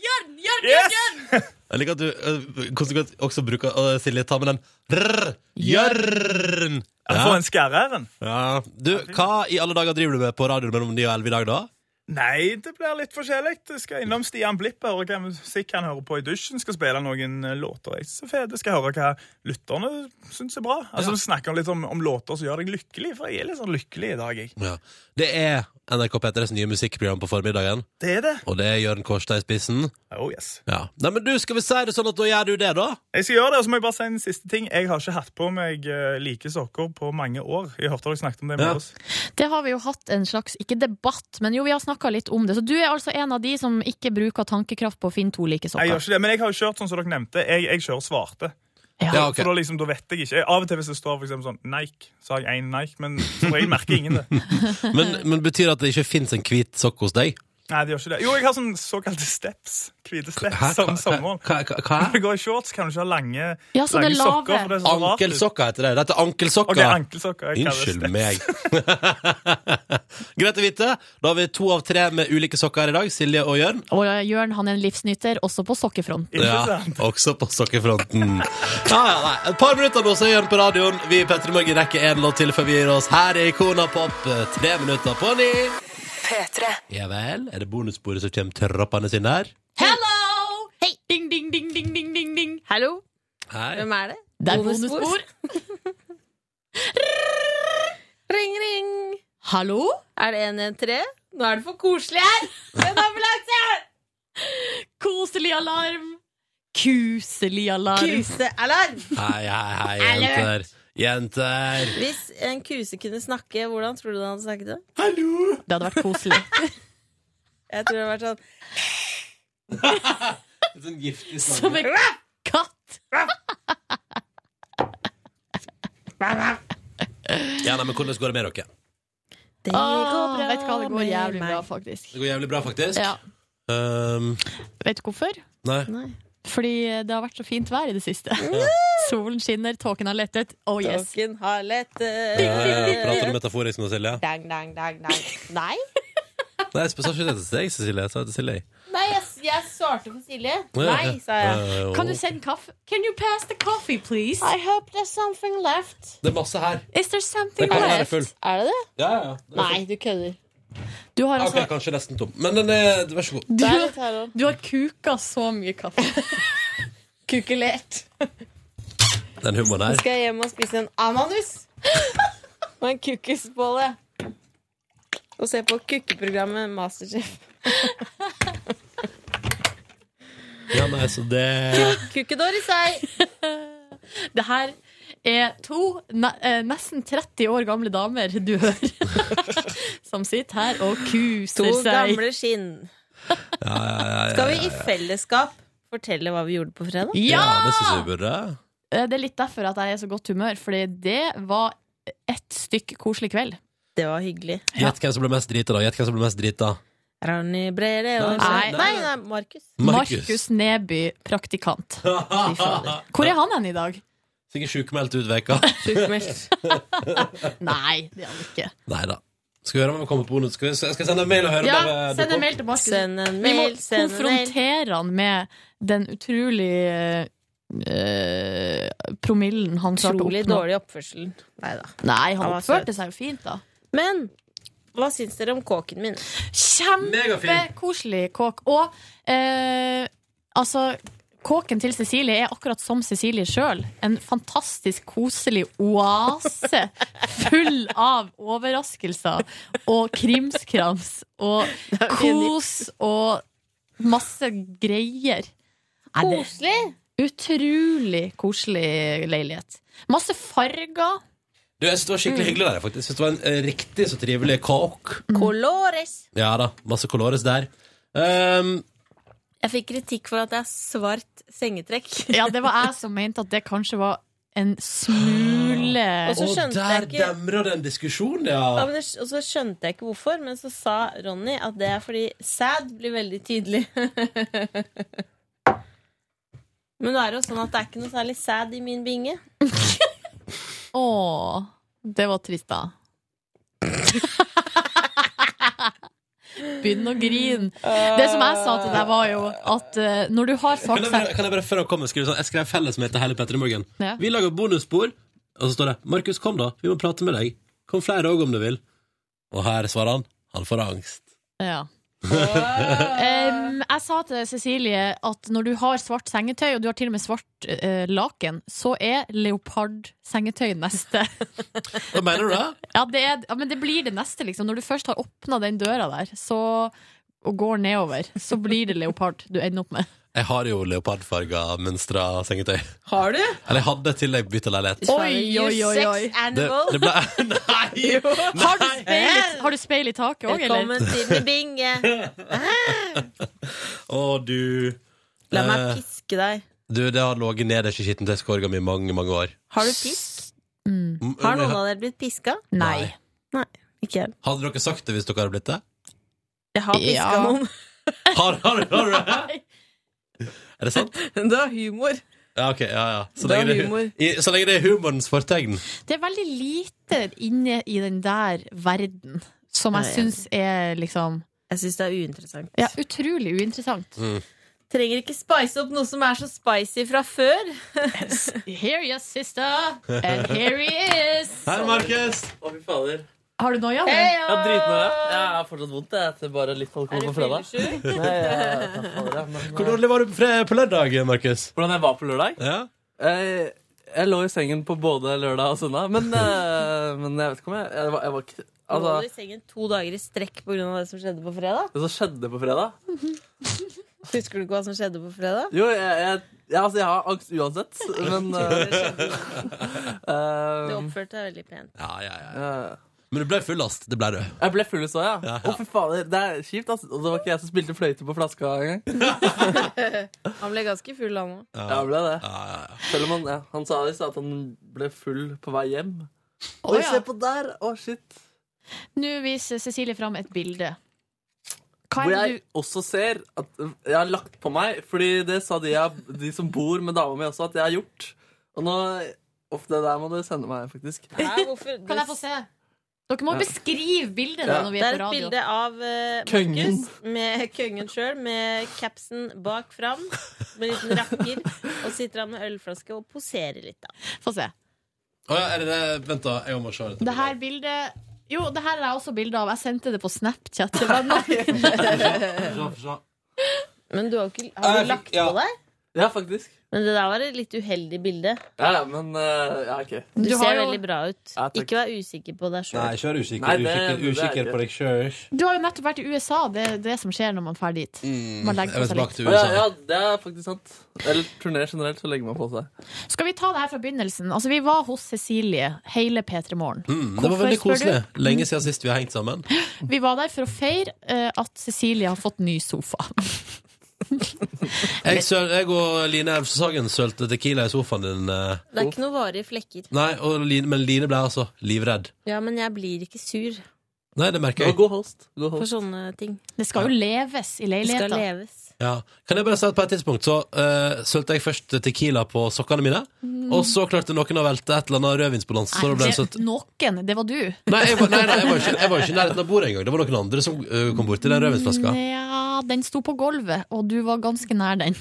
Yes! Jeg liker at du eh, konsekvent også bruker uh, Silje, ta med den rrr, Jørn! Jeg får en skarre-æren. ja. Du, hva i alle dager driver du med på radioen mellom 9 og 11 i dag, da? Nei, det blir litt forskjellig. Jeg skal innom Stian Blipper og hva musikk han hører på i dusjen. Skal spille noen eh, låter jeg synes er fete. Skal høre hva lytterne syns er bra. Altså, Vi snakker litt om, om låter som gjør deg lykkelig, for jeg er litt sånn lykkelig i dag, jeg. Ja. Det er NRK P3s nye musikkprogram på formiddagen, Det er det. og det er Jørn Kårstad i spissen. Oh yes. Ja. Nei, men du, skal vi si det sånn at da gjør du det, da? Jeg skal gjøre det, og så må jeg bare si en siste ting. Jeg har ikke hatt på meg eh, like sokker på mange år. Jeg hørte dere snakket om det i Ja. morges. Det har vi jo hatt en slags, ikke debatt, men jo, vi har snakka litt om det. Så du er altså en av de som ikke bruker tankekraft på å finne to like Jeg gjør sokker. ikke det, men jeg har jo kjørt sånn som dere nevnte. Jeg, jeg kjører svarte. Ja, Ja. ok. For da liksom, da vet jeg ikke. Av og til hvis det står for eksempel sånn Nike, så har jeg én Nike, men som regel merker ingen det. Men, men betyr det at det ikke fins en hvit sokk hos deg? Nei, det gjør ikke det. Jo, jeg har sånn såkalte steps. Hvite Hæ? steps om sommeren. Hva, hva, hva? Når du går i shorts, kan du ikke ha lange, Ja, så det lange er sokker. lave. For det er så rart ut. Ankelsokker heter det. Dette er ankelsokker. Ok, ankelsokker. Jeg kaller det Unnskyld steps. meg. Greit å vite. Da har vi to av tre med ulike sokker her i dag. Silje og Jørn. Og Jørn han er en livsnyter, også på sokkefront. Ikke sant? også på sokkefronten. Ja, ja, nei. Et par minutter nå, så er Jørn på radioen. Vi i Petter Morgen rekker en låt til før vi gir oss. Her er Ikona Pop, eh, tre minutter på ni. Ja vel. Er det bonussporet som kommer trappene sine her? Hello! Hei! Ding, ding, ding, ding, ding, ding, ding. Hallo, Hei. hvem er det? Det er bonusbord. Ring, ring. Hallo? Er det 113? Nå er det for koselig her! En ambulanse! Koselig alarm. Kuselig alarm. Kusealarm! Hei, hei, hei, jenter. Jenter. Hvis en kuse kunne snakke, hvordan tror du den hadde snakket da? Det hadde vært koselig. Jeg tror det hadde vært sånn Sånn giftig Som en katt. Ja, nei, men hvordan går det med dere? Det Åh, vet du hva, det går med jævlig bra, meg. faktisk. Det går jævlig bra, faktisk. Ja. Um, Vet du hvorfor? nei. Nei. Fordi det har vært så fint vær i det siste. Solen skinner, tåken har lettet. Oh yes. Tåken har lett Ja, ja, ja. Prater du metaforisk nå, Silje? Dang, dang, dang, dang. Nei? Nei, jeg spør ikke det til deg, Cecilie. Jeg sa det til Silje. Nei, jeg, jeg svarte for Silje. Nei, sa Ja, Eh, jeg. ja, ja. Kan du sende kaffe? Can you pass the coffee, please? I hope there's something left. Det er masse her. Is there Den something kan være left? full. Er det det? Ja, ja, ja. Den er Nei, du kødder. Du full. har, Ok, altså, kanskje nesten tom. Men den er, vær så god. du, Det er litt her òg. du har kuka så mye kaffe. Kukulert. Den humoren Nå her. skal jeg hjem og spise en ananus og en kukkisbolle. Og se på kukkeprogrammet Masterchef. Ja, nei, så det Kukkedår i seg. Det her er to ne eh, nesten 30 år gamle damer du hører, som sitter her og kuser To seg. gamle skinn. Skal vi i fellesskap fortelle hva vi gjorde på fredag? Ja, Ja! det syns jeg vi burde. Eh, Det er litt derfor at jeg er i så godt humør, fordi det var et stykk koselig kveld. Det var hyggelig. Gjett hvem som ble mest drita, da. Gjett hvem som ble mest drita. Ronny Brede og Nei, Nei, nei, Markus. Markus Neby, praktikant. Ah, Fy fader. Hvor er han hen i dag? Sikkert sjukmeldt ut veka. Sjukmeldt. Nei, det er han ikke. Nei da. Skal vi høre om han kommer på bonus? Skal, vi- skal jeg sende en mail og høre om Ja, det send dukker en opp? mail til Markus. Send en Vi må mail, send en mail. konfrontere han med den utrolig eh, promillen han klarte å Utrolig oppnå. dårlig oppførsel. Neida. Nei, Han han var oppførte seg jo fint, da. Men hva syns dere om kåken min? Megafin. Kjempekoselig kåk. Og eh, altså Kåken til Cecilie er akkurat som Cecilie sjøl. En fantastisk koselig oase full av overraskelser og krimskrams og kos og masse greier. Er det Koselig! utrolig koselig leilighet. Masse farger. Du, jeg syns det var skikkelig hyggelig der, faktisk. Jeg synes det var en eh, riktig så Mm. trivelig kåk. Colores. Ja da. Masse colores der. Ehm, Jeg fikk kritikk for at det er svart sengetrekk. Ja, det var jeg som mente at det kanskje var en smule Og så skjønte jeg ikke demrer den diskusjonen, ja, men det, og så skjønte jeg ikke hvorfor, men så sa Ronny at det er fordi sad blir veldig tydelig. men nå er det jo sånn at det er ikke noe særlig sad i min binge. Åh, det var trist da Begynn å grine Det som jeg sa til deg var jo At eh, når du har Kan jeg, bare, faktisk kan jeg bare før han kommer skrive sånn Jeg skrev felles med til hele Petter i morgen. Ja. Vi lager bonusspor, og så står det 'Markus, kom, da. Vi må prate med deg. Kom flere òg, om du vil.' Og her svarer han. Han får angst. ja. Em, Jeg sa til deg, Cecilie At når du har svart sengetøy Og du har til og med svart eh, laken Så er leopard sengetøy neste Hva mener du da? ja, det er, ja, men det blir det neste liksom Når du først har åpnet den døra der så, Og går nedover Så blir det leopard du ender opp med Jeg har jo leopardfarga mønstra sengetøy. Har du? Eller jeg hadde til jeg bytta leilighet. Oi, oi, oi, oi. Det, det ble Nei! Har du speil i, har du speil i taket òg, eller? Velkommen til min binge. Å, du. La meg Eh, piske deg. Du, det har ligget nederst i skittentøyskorga mi i mange, mange år. Har du pisk? Mm. Mm, Har men- noen av dere blitt piska? Nei. Ikke jeg. Hadde dere sagt det hvis dere hadde blitt det? Jeg har piska Ja. noen. Har, har, har du det? Er det sant? Det er humor. Ja, ok. Ja, ja. Så Det er lenge det, humor. i, så lenge det er humorens fortegn. Det er veldig lite inne i den der verden som jeg Nei. syns er liksom Jeg syns det er uinteressant. ja, utrolig uinteressant. Mm. Trenger ikke spice opp noe som er så spicy fra før. Here you sister, and here he is. Her, Markus! Å, fy fader. Har du noia? eller? Hei, Jeg har dritnoia. Jeg har fortsatt vondt. Jeg etter bare litt Er alkohol du på fredag. fyllesyk? Nei, jeg- takk fader, jeg, men, Hvor eh, dårlig var du på, fre- på lørdag, Markus? Hvordan jeg var på lørdag? Ja. Jeg, jeg lå i sengen på både lørdag og søndag, men, eh, men jeg vet ikke om jeg Jeg var, jeg var ikke Nå Altså, var du i sengen to dager i strekk pga. det som skjedde på fredag. det som skjedde på fredag Husker du ikke hva som skjedde på fredag? Jo, jeg, jeg, jeg, altså, jeg har angst uansett, men Det eh, skjedde. Du eh, oppførte deg veldig pent. Ja, ja, ja. eh, Men du ble fullast. Det ble du. Jeg ble full i så, ja. Ja, Å, ja. fy fader. Det er kjipt, altså. Og det var ikke jeg som spilte fløyte på flaska engang. Han ble ganske full, han òg. Ja, ble det. Ja, ja, ja. Selv om han, ja, han sa i stad at han ble full på vei hjem. Å, Oi, ja. se på der! Å, shit. Nå viser Cecilie fram et bilde. Hva Hvor er det jeg også ser at jeg har lagt på meg, fordi det sa de, jeg, de som bor med dama mi også, at jeg har gjort. Og nå Uff, det der må du sende meg, faktisk. du Kan jeg få se? Dere må Ja. beskrive bildet da, Ja. når vi er Det er på et radio. bilde av eh, Kongen. Markus med kongen sjøl, med capsen bak fram, med en liten rakker, og sitter han med ølflaske og poserer litt, da. Få se. Å, ja, er det det? Vent, da. Jeg må se dette. Det her bildet Jo, det her er også bilde av. Jeg sendte det på Snapchat til venner. Men du har, ikke, Ja, har jeg du lagt fikk- ja. på deg? Ja, faktisk. Men det der var et litt uheldig bilde. Ja, ja, men eh, Ja, OK. Du, Du har ser jo- veldig bra ut. Ja, takk. ikke vær usikker på deg Nei, sjøl. kjør usikker. Nei, det- usikker, det er usikker ikke- på deg sjøl. Du har jo nettopp vært i USA. Det er det som skjer når man drar dit. Mm, Man legger på seg litt. til Å, Ja, USA. ja, det er faktisk sant. Eller turné generelt, så legger man på seg. Skal vi ta det her fra begynnelsen? Altså, vi var hos Cecilie hele P3 Morgen. Mm, det var veldig Hvorfor spør koselig. Lenge siden sist vi har hengt sammen. Vi var der for å feire eh, at Cecilie har fått ny sofa. Jeg, søl, jeg og Line Elvsåshagen sølte tequila i sofaen din. eh. Det er ikke noe varige flekker. Nei, og Line, men Line ble altså livredd. Ja, men jeg blir ikke sur Nei, det Du merker var jeg. god host. God for host. sånne ting. Det skal jo leves i Det skal leiligheten. leves. Ja. Kan jeg bare si at på et tidspunkt så eh, sølte jeg først tequila på sokkene mine, og så klarte noen å velte et eller annet rødvinsbalanse. Så da ble sånn Nei, det søtt. det, noen, det var du. Nei, jeg var, nei, nei, jeg var ikke jeg var ikke i nærheten av bordet engang. Det var noen andre som eh, kom borti den rødvinsflaska. Ja, den sto på gulvet, og du var ganske nær den.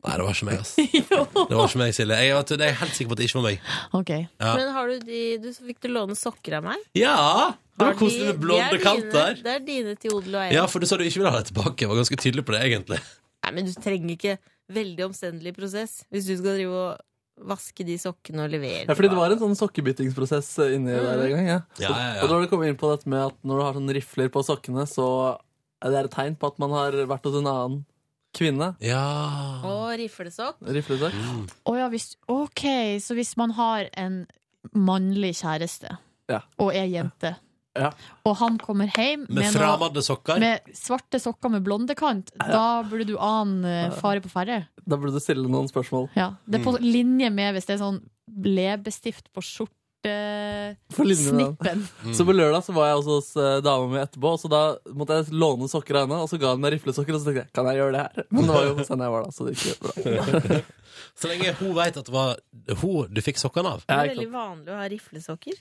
Nei, det var ikke meg, ass. Det var ikke meg, Silje. Jeg, vet du, jeg er helt sikker på at det ikke var meg. Ok. Ja. Men har du de, du fikk du låne sokker av meg? Ja! Det Har var koselig med de- de er blonde dine- kanter. Det er dine til odel og eie. Ja, for du sa du ikke ville ha det tilbake. Jeg var ganske tydelig på det, egentlig. Nei, men du trenger ikke veldig omstendelig prosess hvis du skal drive og vaske de sokkene og levere. Ja, fordi det var en sånn sokkebyttingsprosess eh, inni der en gang. Ja. Ja, ja, ja. Og da har du kommet inn på dette med at når du har sånn rifler på sokkene, så er det et tegn på at man har vært hos en annen kvinne. Ja. Og riflesokk. Riflesokk. Å ja, hvis, ok, så hvis man har en mannlig kjæreste Ja. og er jente, Og han kommer hjem Med med, noe, framadde sokker. med svarte sokker med blondekant. Da burde du ane eh, fare på ferde. Da burde du stille noen spørsmål. Ja, det er på Mm. linje med hvis det er sånn leppestift på På linje med skjortesnippen. den. Så på lørdag så var jeg også hos eh, dama mi etterpå, og så da måtte jeg låne sokker av henne. Og så ga hun meg riflesokker, og så tenkte jeg kan jeg gjøre det her? Men det var jo hos henne jeg var da, så det gikk jo bra. Så lenge hun veit at det var hun du fikk sokkene av. Det er veldig vanlig å ha riflesokker.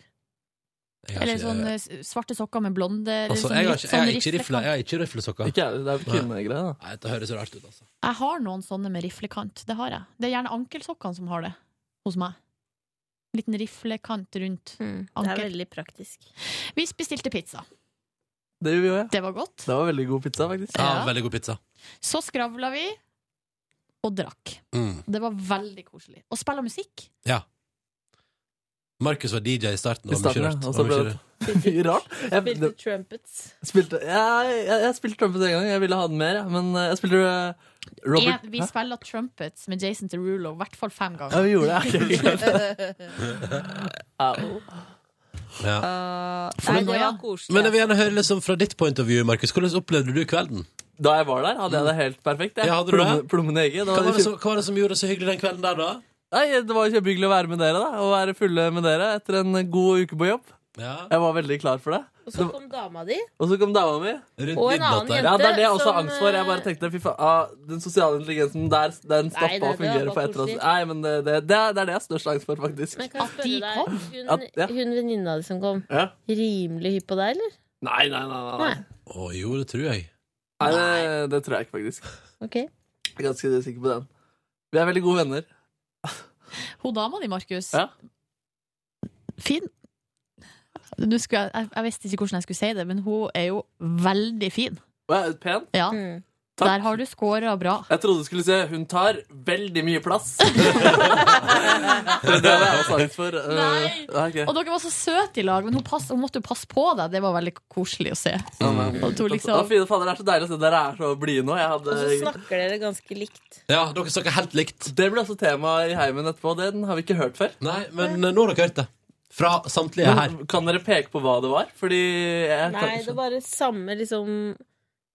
Jeg har Eller ikke- sånn eh, s- svarte sokker med blonde eller Altså, sånn jeg har litt ikke, jeg har sånn ikke, riflekant. rifle, jeg har ikke riflesokker. Ikke jeg, det er kvinnegreier, Nei, dette høres rart ut, altså. Jeg har noen sånne med riflekant. Det har jeg. Det er gjerne ankelsokkene som har det hos meg. Liten riflekant rundt Det er ankel. veldig praktisk. Vi bestilte pizza. Det gjorde vi òg, ja. Det var godt. Det var veldig god pizza, faktisk. Ja, veldig god pizza. Så skravla vi og drakk. Mm. Det var veldig koselig. Og spilla musikk. Ja. Markus var DJ i starten. I starten, ja. Og så ble det mye rart. Jeg, det, Spilte trumpets. spilte, jeg, jeg, jeg spilte trumpet en gang. Jeg ville ha den mer, ja. men eh, jeg spilte eh, Robert En, vi Hæ? spilla trumpets med Jason Derulo i hvert fall fem ganger. Ja, vi gjorde det. Au. Ja. For Nei, nå, det ja. var koselig. Men jeg vil gjerne høre liksom fra ditt point of view, Markus. Hvordan opplevde du kvelden? Da jeg var der, hadde jeg det helt perfekt. Jeg. Ja, hadde du det? Plomme- Plommen i egget. Hva Det var, var det det som, hva var det som gjorde det så hyggelig den kvelden der, da? kjempe- Nei, det var jo kjempehyggelig å være med dere, da. Å være fulle med dere etter en god uke på jobb. Ja. Jeg var veldig klar for det. Og så kom dama di. Og så kom dama mi. Rundt Og en midnatt annen der. jente. Ja, det er det jeg også har som, angst for. Jeg bare tenkte, fy faen, ah, Den sosiale intelligensen der, den Nei, det- stappa å det fungere var på etter oss. koselig. Nei, men det, det, det, er, det er det jeg har størst angst for, faktisk. Men kan jeg At de spørre kom? deg, hun, At- ja. hun venninna di som kom, Ja. rimelig hypp på deg, eller? Nei, nei, nei. nei, nei. Nei. Å jo, det tror jeg. nei det, det tror jeg ikke, faktisk. Ok. Jeg er ganske sikker på den. Vi er veldig gode venner. Hun dama di, Markus. Ja. Fin. Nå skulle jeg, jeg, jeg visste ikke hvordan jeg skulle si det, men hun er jo veldig fin. Og jeg er pen. Ja, Mm. Takk. Der har du scora bra. Jeg trodde du skulle se Hun tar veldig mye plass. For det var jeg også angst for. Eh, Nei. ok. Og dere var så søte i lag, men hun, pass, hun måtte jo passe på deg. Det var veldig koselig å se. Sånn, Ja, men- Og to liksom- Å, fy fader, Det er så deilig å se dere er så blide nå. Jeg Og så hadde... snakker dere ganske likt. Ja, dere snakker helt likt. Det ble også tema i heimen etterpå. Den har vi ikke hørt før. Nei, men eh, nå har dere hørt det. Fra samtlige her. Men, kan dere peke på hva det var? Fordi jeg kan Nei, ikke det var det samme liksom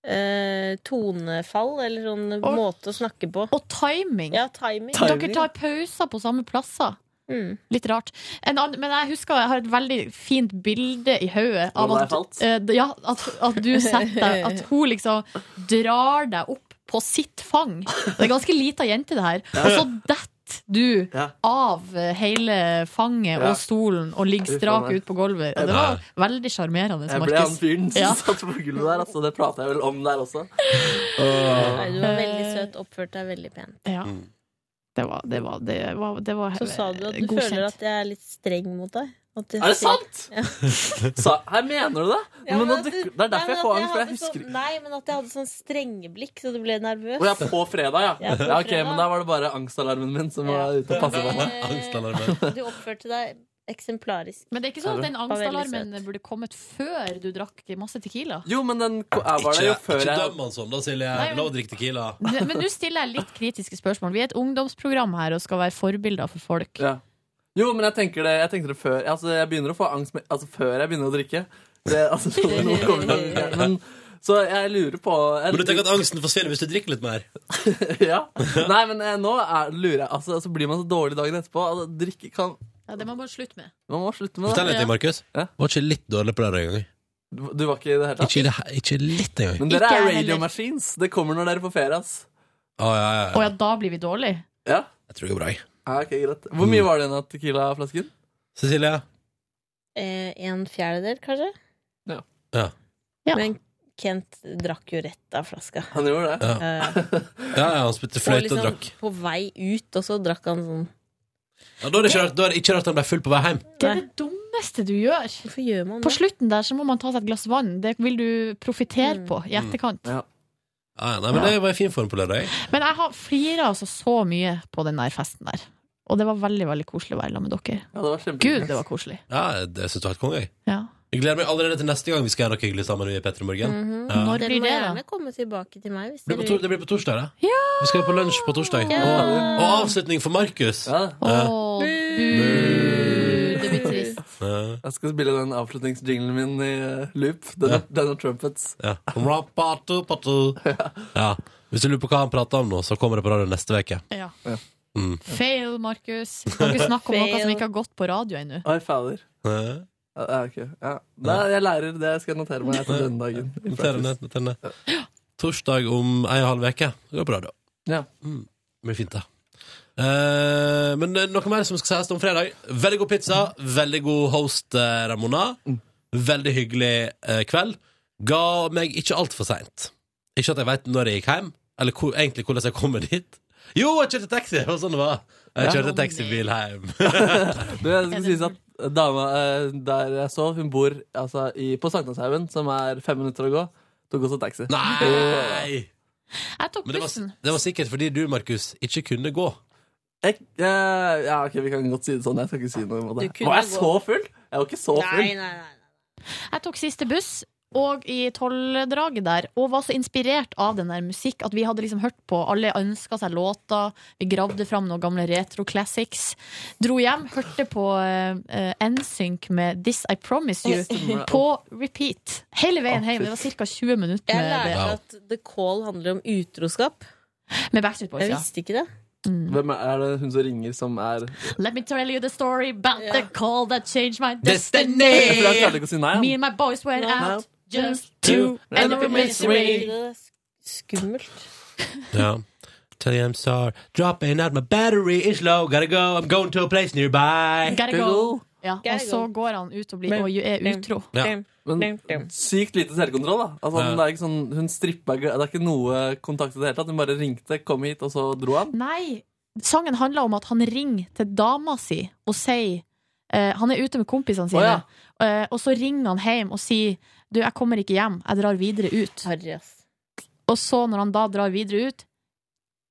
eh, tonefall, eller sånn måte å snakke på. Og timing. Ja, timing. Ta- Dere tar pauser på samme plasser. Mm. Litt rart. En annen, men jeg husker jeg har et veldig fint bilde i hodet av Hvor det at, er falt? eh, ja, at, at du setter deg At hun liksom drar deg opp på sitt fang. Det er ganske lita jente, det her. Og så detter du Ja. av eh, hele fanget Ja. og stolen og ligger Fy faen, strak jeg- ut på gulvet. Og det var veldig sjarmerende, Jeg ble han Markus. fyren som Ja. satt på gulvet der. Altså, det prata jeg vel om der også. Nei, du var veldig søt, oppførte deg veldig pent. Ja. Det var, det var, det var, det var Så sa du at du godkjent. føler at jeg er litt streng mot deg. At jeg Er det sier- sant?! Sa, her mener du det? Ja, men nå at du- dukker, det er Nei, derfor jeg men får at angst, for jeg hadde husker sånn- ikke. Nei, men at jeg hadde sånn strenge blikk, så du ble nervøs. Å ja, på fredag, ja. Ja, på ja ok, fredag. Men da var det bare angstalarmen min som Ja. var ute og passa på meg. Eh, Angstalarmen. Du oppførte deg eksemplarisk. Men det er ikke sånn at den var veldig angstalarmen søt. burde kommet før du drakk masse Tequila? Jo, men den jeg var der jo Ikke, før ikke jeg døm han sånn, da, Silje. Nei, men- Lov å drikke Tequila. Ne- Men nå stiller jeg litt kritiske spørsmål. Vi er et ungdomsprogram her og skal være forbilder for folk. ja. Jo, men jeg tenker det, jeg tenker det før Altså, jeg begynner å få angst med, altså, før jeg begynner å drikke. Det, altså, nå kommer det, men, så jeg lurer på jeg, Men du tenker at angsten forsvinner hvis du drikker litt mer? ja. Nei, men eh, nå er, lurer jeg altså, Så blir man så dårlig dagen etterpå altså, Drikke kan Ja, det må man bare slutte med. Man må slutte med Fortell det litt, til, Markus. Ja. Var ikke litt dårlig på det der engang. Du du var ikke i det hele tatt Ikke, i det he- ikke litt engang. Men dere Ikke jeg er heller. radio machines Det kommer når dere er på ferie, ass Å, Ah, ja, ja, Å ja. ja, da blir vi dårlige? Ja, Jeg tror det går bra, jeg. ja ok, greit Hvor Mm. mye var det igjen av tequila-flasken? Cecilie? Eh, en fjerdedel, kanskje? Ja. Ja. Men Kent drakk jo rett av flaska. Han gjorde det Ja, Eh, ja, ja han spilte og liksom- fløyte og drakk. på vei ut, og så drakk han sånn Ja, da er det ikke rart, da er det ikke rart han ble full på vei hjem. Det er Nei. det dummeste du gjør. Hvorfor gjør man På det? slutten der så må man ta seg et glass vann. Det vil du profitere på i etterkant. Ja, ja, nei, men det var i fin form på lørdag. jeg. Men jeg har flira altså så mye på den der festen der. Og det var veldig veldig koselig å være sammen med dere. Ja, det var kjempe Gud, det var koselig. Ja, det synes jeg var helt konge. jeg. Ja. Jeg gleder meg allerede til neste gang vi skal ha noe hyggelig sammen. Vi i Petter i morgen. Mhm. Ja. Når Dere blir må det, da? gjerne komme tilbake til meg. Hvis Det, blir på dere to, det blir på torsdag, da. Vi skal på lunsj på torsdag. Og, og avslutning for Markus. ja. Åh, bu. Det blir trist. Jeg skal spille den avslutningsjinglen min i eh, loop. Den, Ja. er- den er trumpets. Ja. Rapatopatu. ja. Hvis du lurer på hva han prater om nå, så kommer det på radio neste uke. Ja. Mm. Fail, Markus. Kan ikke snakke om noe som ikke har gått på radio ennå. Oi, fader. Eh, Ja, ja, ok. ja. Nei, jeg lærer det. Jeg skal notere meg etter denne dagen. i Noter det praksis. ned. noter det ned. Torsdag om ei og en halv uke. Det går bra, da. Ja. Mm. Det blir fint, det. Eh, men det er noe mer som skal sies om fredag. Veldig god pizza, veldig god host, eh, Ramona. Veldig hyggelig eh, kveld. Ga meg ikke altfor seint. Ikke at jeg veit når jeg gikk hjem, eller hvor, egentlig hvordan jeg kommer dit. Jo, jeg kjørte taxi! Det var sånn det var. Jeg Ja. kjørte taxibil hjem. du, jeg skal sies at dama eh, der jeg sov, hun bor altså, i, på Sankthanshaugen, som er fem minutter å gå. Tok også taxi. Eh, Nei! Jeg tok Men det var, bussen. det var sikkert fordi du, Markus, ikke kunne gå. Jeg, eh, ja, ok, Vi kan godt si det sånn. Jeg skal ikke si noe om det. Du kunne Var jeg gå- så full? Jeg var ikke så full. Jeg tok siste buss og i tolvdraget der, og var så inspirert av den der musikk at vi hadde liksom hørt på. Alle ønska seg låter. Vi gravde fram noen gamle retro classics. Dro hjem, hørte på eh, eh, NSYNC med 'This I Promise Stemmer You' det. på repeat. Hele veien hjem. Det var ca. 20 minutter Jeg med lærte det. at The Call handler om utroskap. Med Backstreet Boys, Jeg ja. visste ikke det. Hvem er, er det hun som ringer, som er Let me tell you the story about the call that changed my Destiny. destiny. Jeg tror jeg klarte ikke å si nei, han. Me and my boys went out just to to end end up up in misery. Skummelt. Ja. Tell you I'm sorry. Dropping out my battery is low. Gotta go. I'm going to a place nearby. Gotta go. Ja, og Gotta så går han ut og, blir, og er utro. Ja. Men sykt lite selvkontroll, da. Altså, Ja. det er ikke sånn, hun strippa Det er ikke noe kontakt i det hele tatt. Hun bare ringte, kom hit, og så dro han. Nei, sangen handler om at han ringer til dama si og sier eh, Han er ute med kompisene sine, Å, eh, og så ringer han hjem og sier Du, jeg kommer ikke hjem, jeg drar videre ut. Og så, når han da drar videre ut,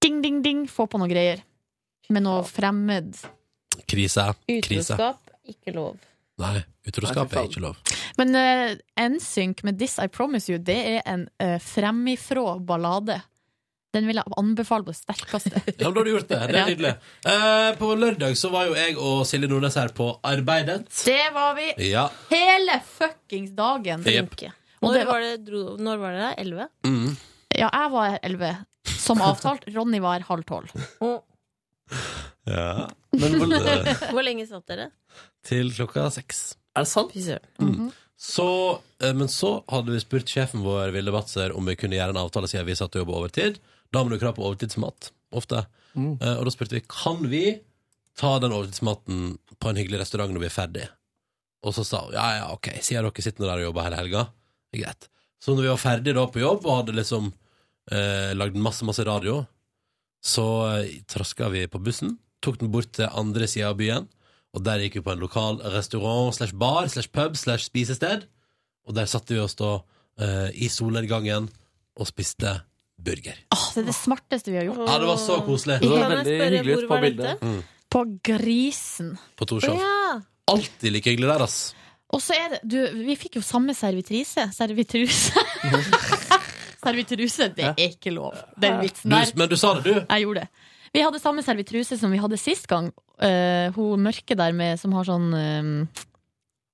ding, ding, ding, får på noen greier. Med noe fremmed. Krise. Krise. Utroskap, ikke lov. Nei, utroskap er ikke lov. Men eh, NSYNC med This I Promise You, det er en eh, fremifrå ballade. Den vil jeg anbefale på det sterkeste. Ja, men da har du gjort det. Det er nydelig. Eh, på lørdag så var jo jeg og Silje Nordnes her på Arbeidet. Det var vi Ja. hele fuckings dagen. Jepp. Og Når det var, var det, dro, når var det der? Elleve? Mm. ja, jeg var her elleve, som avtalt. Ronny var her halv tolv. ja. Hvor lenge satt dere? Til klokka seks. Er det sant? Så, eh, men så hadde vi spurt sjefen vår Ville Batzer, om vi kunne gjøre en avtale siden vi satt og jobbet overtid. Da må du krav på overtidsmat. Ofte. Mm. Eh, og da spurte vi kan vi ta den overtidsmaten på en hyggelig restaurant når vi er ferdig. Og så sa hun ja, ja, ok, siden dere sitter der og jobber hele helga. det er Greit. Så når vi var ferdig da på jobb og hadde liksom eh, lagd masse, masse radio, så eh, traska vi på bussen, tok den bort til andre sida av byen, og der gikk vi på en lokal restaurant slash bar slash pub slash spisested, og der satte vi oss da eh, i solnedgangen og spiste burger. Åh, det er det smarteste vi har gjort. Ja, det var så koselig. Det var Kan jeg veldig spørre, hyggelig hvor på var bildet. dette? Mm, På Grisen. på Torshov. Ja. Alltid like hyggelig der, ass. Og så er det du, Vi fikk jo samme servitrise. Servitruse. servitruse, det er ikke lov. Den vitsen Du, der. men du sa det, du. Jeg gjorde det. Vi hadde samme servitruse som vi hadde sist gang. Eh, hun mørke der med som har sånn eh,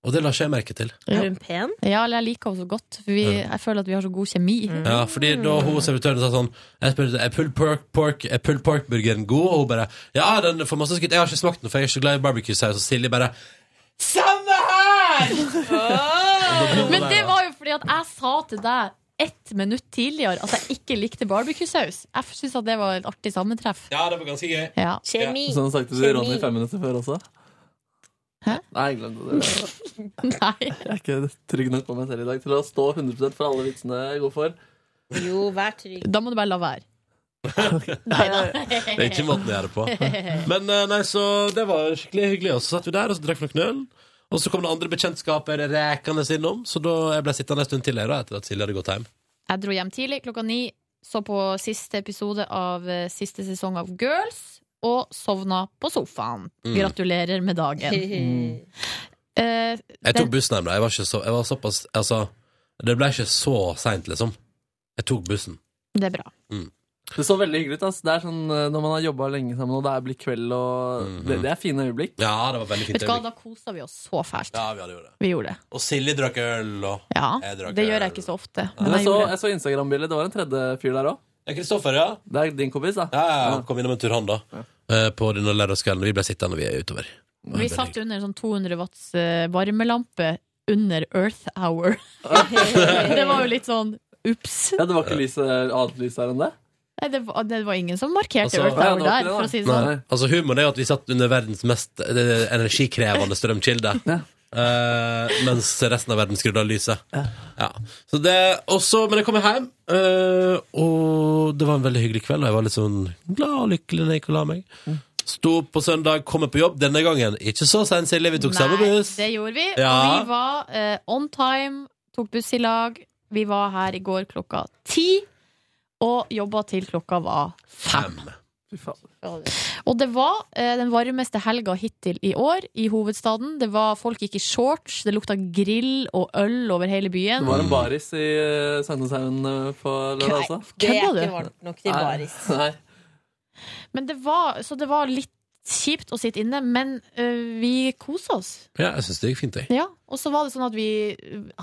Og det la ikke jeg merke til. Er hun pen? Ja, eller jeg liker henne så godt. For vi, jeg føler at vi har så god kjemi. Ja, fordi da hun servitøren sa sånn Jeg spurte er pulled pork, pork, er pulled pork-burgeren god, og hun bare Ja, den får masse skutt. Jeg har ikke smakt den, for jeg er ikke så glad i barbecue-saus. Og Silje bare Samme her! Men det var jo fordi at jeg sa til deg ett minutt tidligere at jeg ikke likte barbecue-saus. Jeg syns at det var et artig sammentreff. Ja, det var ganske gøy. Ja. Kjemi. Sånn snakket du til Ronny fem minutter før også. Hæ? Nei, jeg glemte det. Nei. Jeg er ikke trygg nok på meg selv i dag til å stå 100 for alle vitsene jeg går for. Jo, vær trygg. Da må du bare la være. Det er ikke måten å gjøre det på. Men eh, nei, så det var skikkelig hyggelig. Og så satt vi der, og så drakk vi noen øl. Og så kom det andre bekjentskaper rekende innom, så da jeg ble sittende en stund til her, da, etter at Silje hadde gått hjem. Jeg dro hjem tidlig klokka ni, så på siste episode av eh, siste sesong av Girls, og sovna på sofaen. Mm. Gratulerer med dagen. Eh, Jeg tok den- bussen hjem, da. Jeg var, ikke så, jeg var såpass Altså, det ble ikke så seint, liksom. Jeg tok bussen. Det er bra. Mm. Det så veldig hyggelig ut. ass. Det er sånn eh, Når man har jobba lenge sammen, og det er blitt kveld og Mhm. det, det er fine øyeblikk. Ja, det var veldig Vet du hva, da kosa vi oss så fælt. Ja, vi hadde gjort det. Vi gjorde det. Og Silje drakk øl, og Ja, jeg drakk eh, det gjør jeg ikke så ofte. Men jeg, jeg så, gjorde det. jeg så Instagram-bildet. Det var en tredje fyr der òg. Kristoffer, ja. Det er din kompis, da. Ja, ja, han kom innom en tur, han, da. eh, På denne lørdagskvelden. Vi ble sittende, vi er utover. Vi satt under en sånn 200 watts eh, varmelampe under Earth Hour. det var jo litt sånn ups. Ja, Det var ikke lyset, annet lys der enn det? Nei, det var, det var ingen som markerte Altså- Earth Ja, Hour det var der, ikke det, for å si det Nei. sånn. Altså Humoren er jo at vi satt under verdens mest eh, energikrevende strømkilde. Eh, mens resten av verden skrudde av lyset. Ja. Så det, og så- men jeg kom hjem, eh, og det var en veldig hyggelig kveld. Og jeg var litt sånn glad og lykkelig når jeg gikk og la meg. Sto opp på søndag, kommer på jobb. Denne gangen ikke så sent, Silje. Vi tok samme buss. det gjorde vi. Ja. Og vi var eh, on time, tok buss i lag. Vi var her i går klokka ti, og jobba til klokka var Fem. Og det var eh, den varmeste helga hittil i år i hovedstaden. Det var, folk gikk i shorts, det lukta grill og øl over hele byen. Det var en baris i uh, Sankthanshaugen eh, på lørdag også. Det er Kødder ikke du? varmt nok til Nei. baris. Nei. Men det var, så det var litt kjipt å sitte inne, men eh, vi kosa oss. Ja, jeg syns det gikk fint, jeg. Ja, og så var det sånn at vi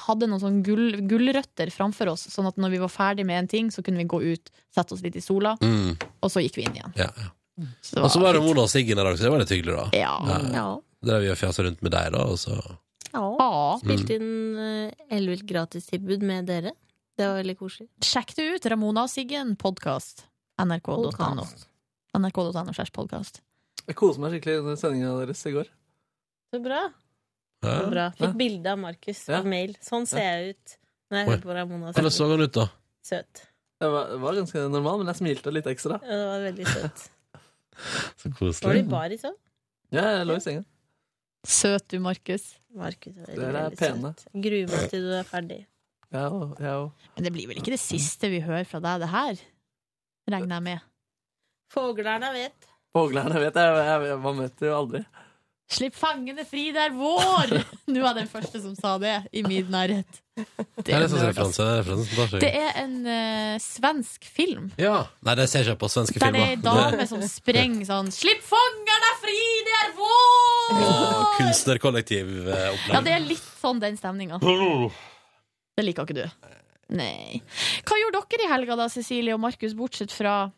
hadde noen sånn gull, gullrøtter framfor oss, sånn at når vi var ferdig med en ting, så kunne vi gå ut, sette oss litt i sola, Mm. og så gikk vi inn igjen. Ja, ja. det Og så var det fint. Mona og Siggen i dag, så det var litt hyggelig, da. Ja. Ja. Drev vi og fjasa rundt med deg, da, og så Ja. Spilt Mm. inn eh, ellevilt gratistilbud med dere. Det var veldig koselig. Sjekk det ut, Ramona og Siggen, podkast. NRK.no. Podcast. NRK.no slash podkast. Jeg koste meg skikkelig under sendinga deres i går. Så bra. Så Ja. bra. Fikk bilde av Markus på mail. Sånn ser jeg ut når Oi. jeg hører på Ramona. Hvordan så han ut, da? Søt. Jeg var, jeg var ganske normal, men jeg smilte litt ekstra. Ja, Det var veldig søt. Så Var koselig. det i baris òg? Ja, jeg lå i senga. Søt du, Markus. Markus er veldig, Dere er veldig pene. søt. Jeg Gruer meg til du er ferdig. Jeg òg. Jeg òg. Men det blir vel ikke det siste vi hører fra deg, det her? Regner jeg med. Foglerne vet. Foglerne vet jeg, jeg, jeg, man vet det jo aldri. Slipp fangene fri, det er vår! Nå var den første som sa det, i min nærhet. Det er en sånn referanse. referansen tar seg. Det er en eh, svensk film. Ja. Nei, det ser jeg ikke på svenske Der det er filmer. ei dame som sprenger sånn 'Slipp fangerne fri, det er vår!' Og kunstnerkollektiv eh, Ja, opplegg. det er litt sånn den stemninga. Det liker ikke du. Nei. Hva gjorde dere i helga da, Cecilie og Markus, bortsett fra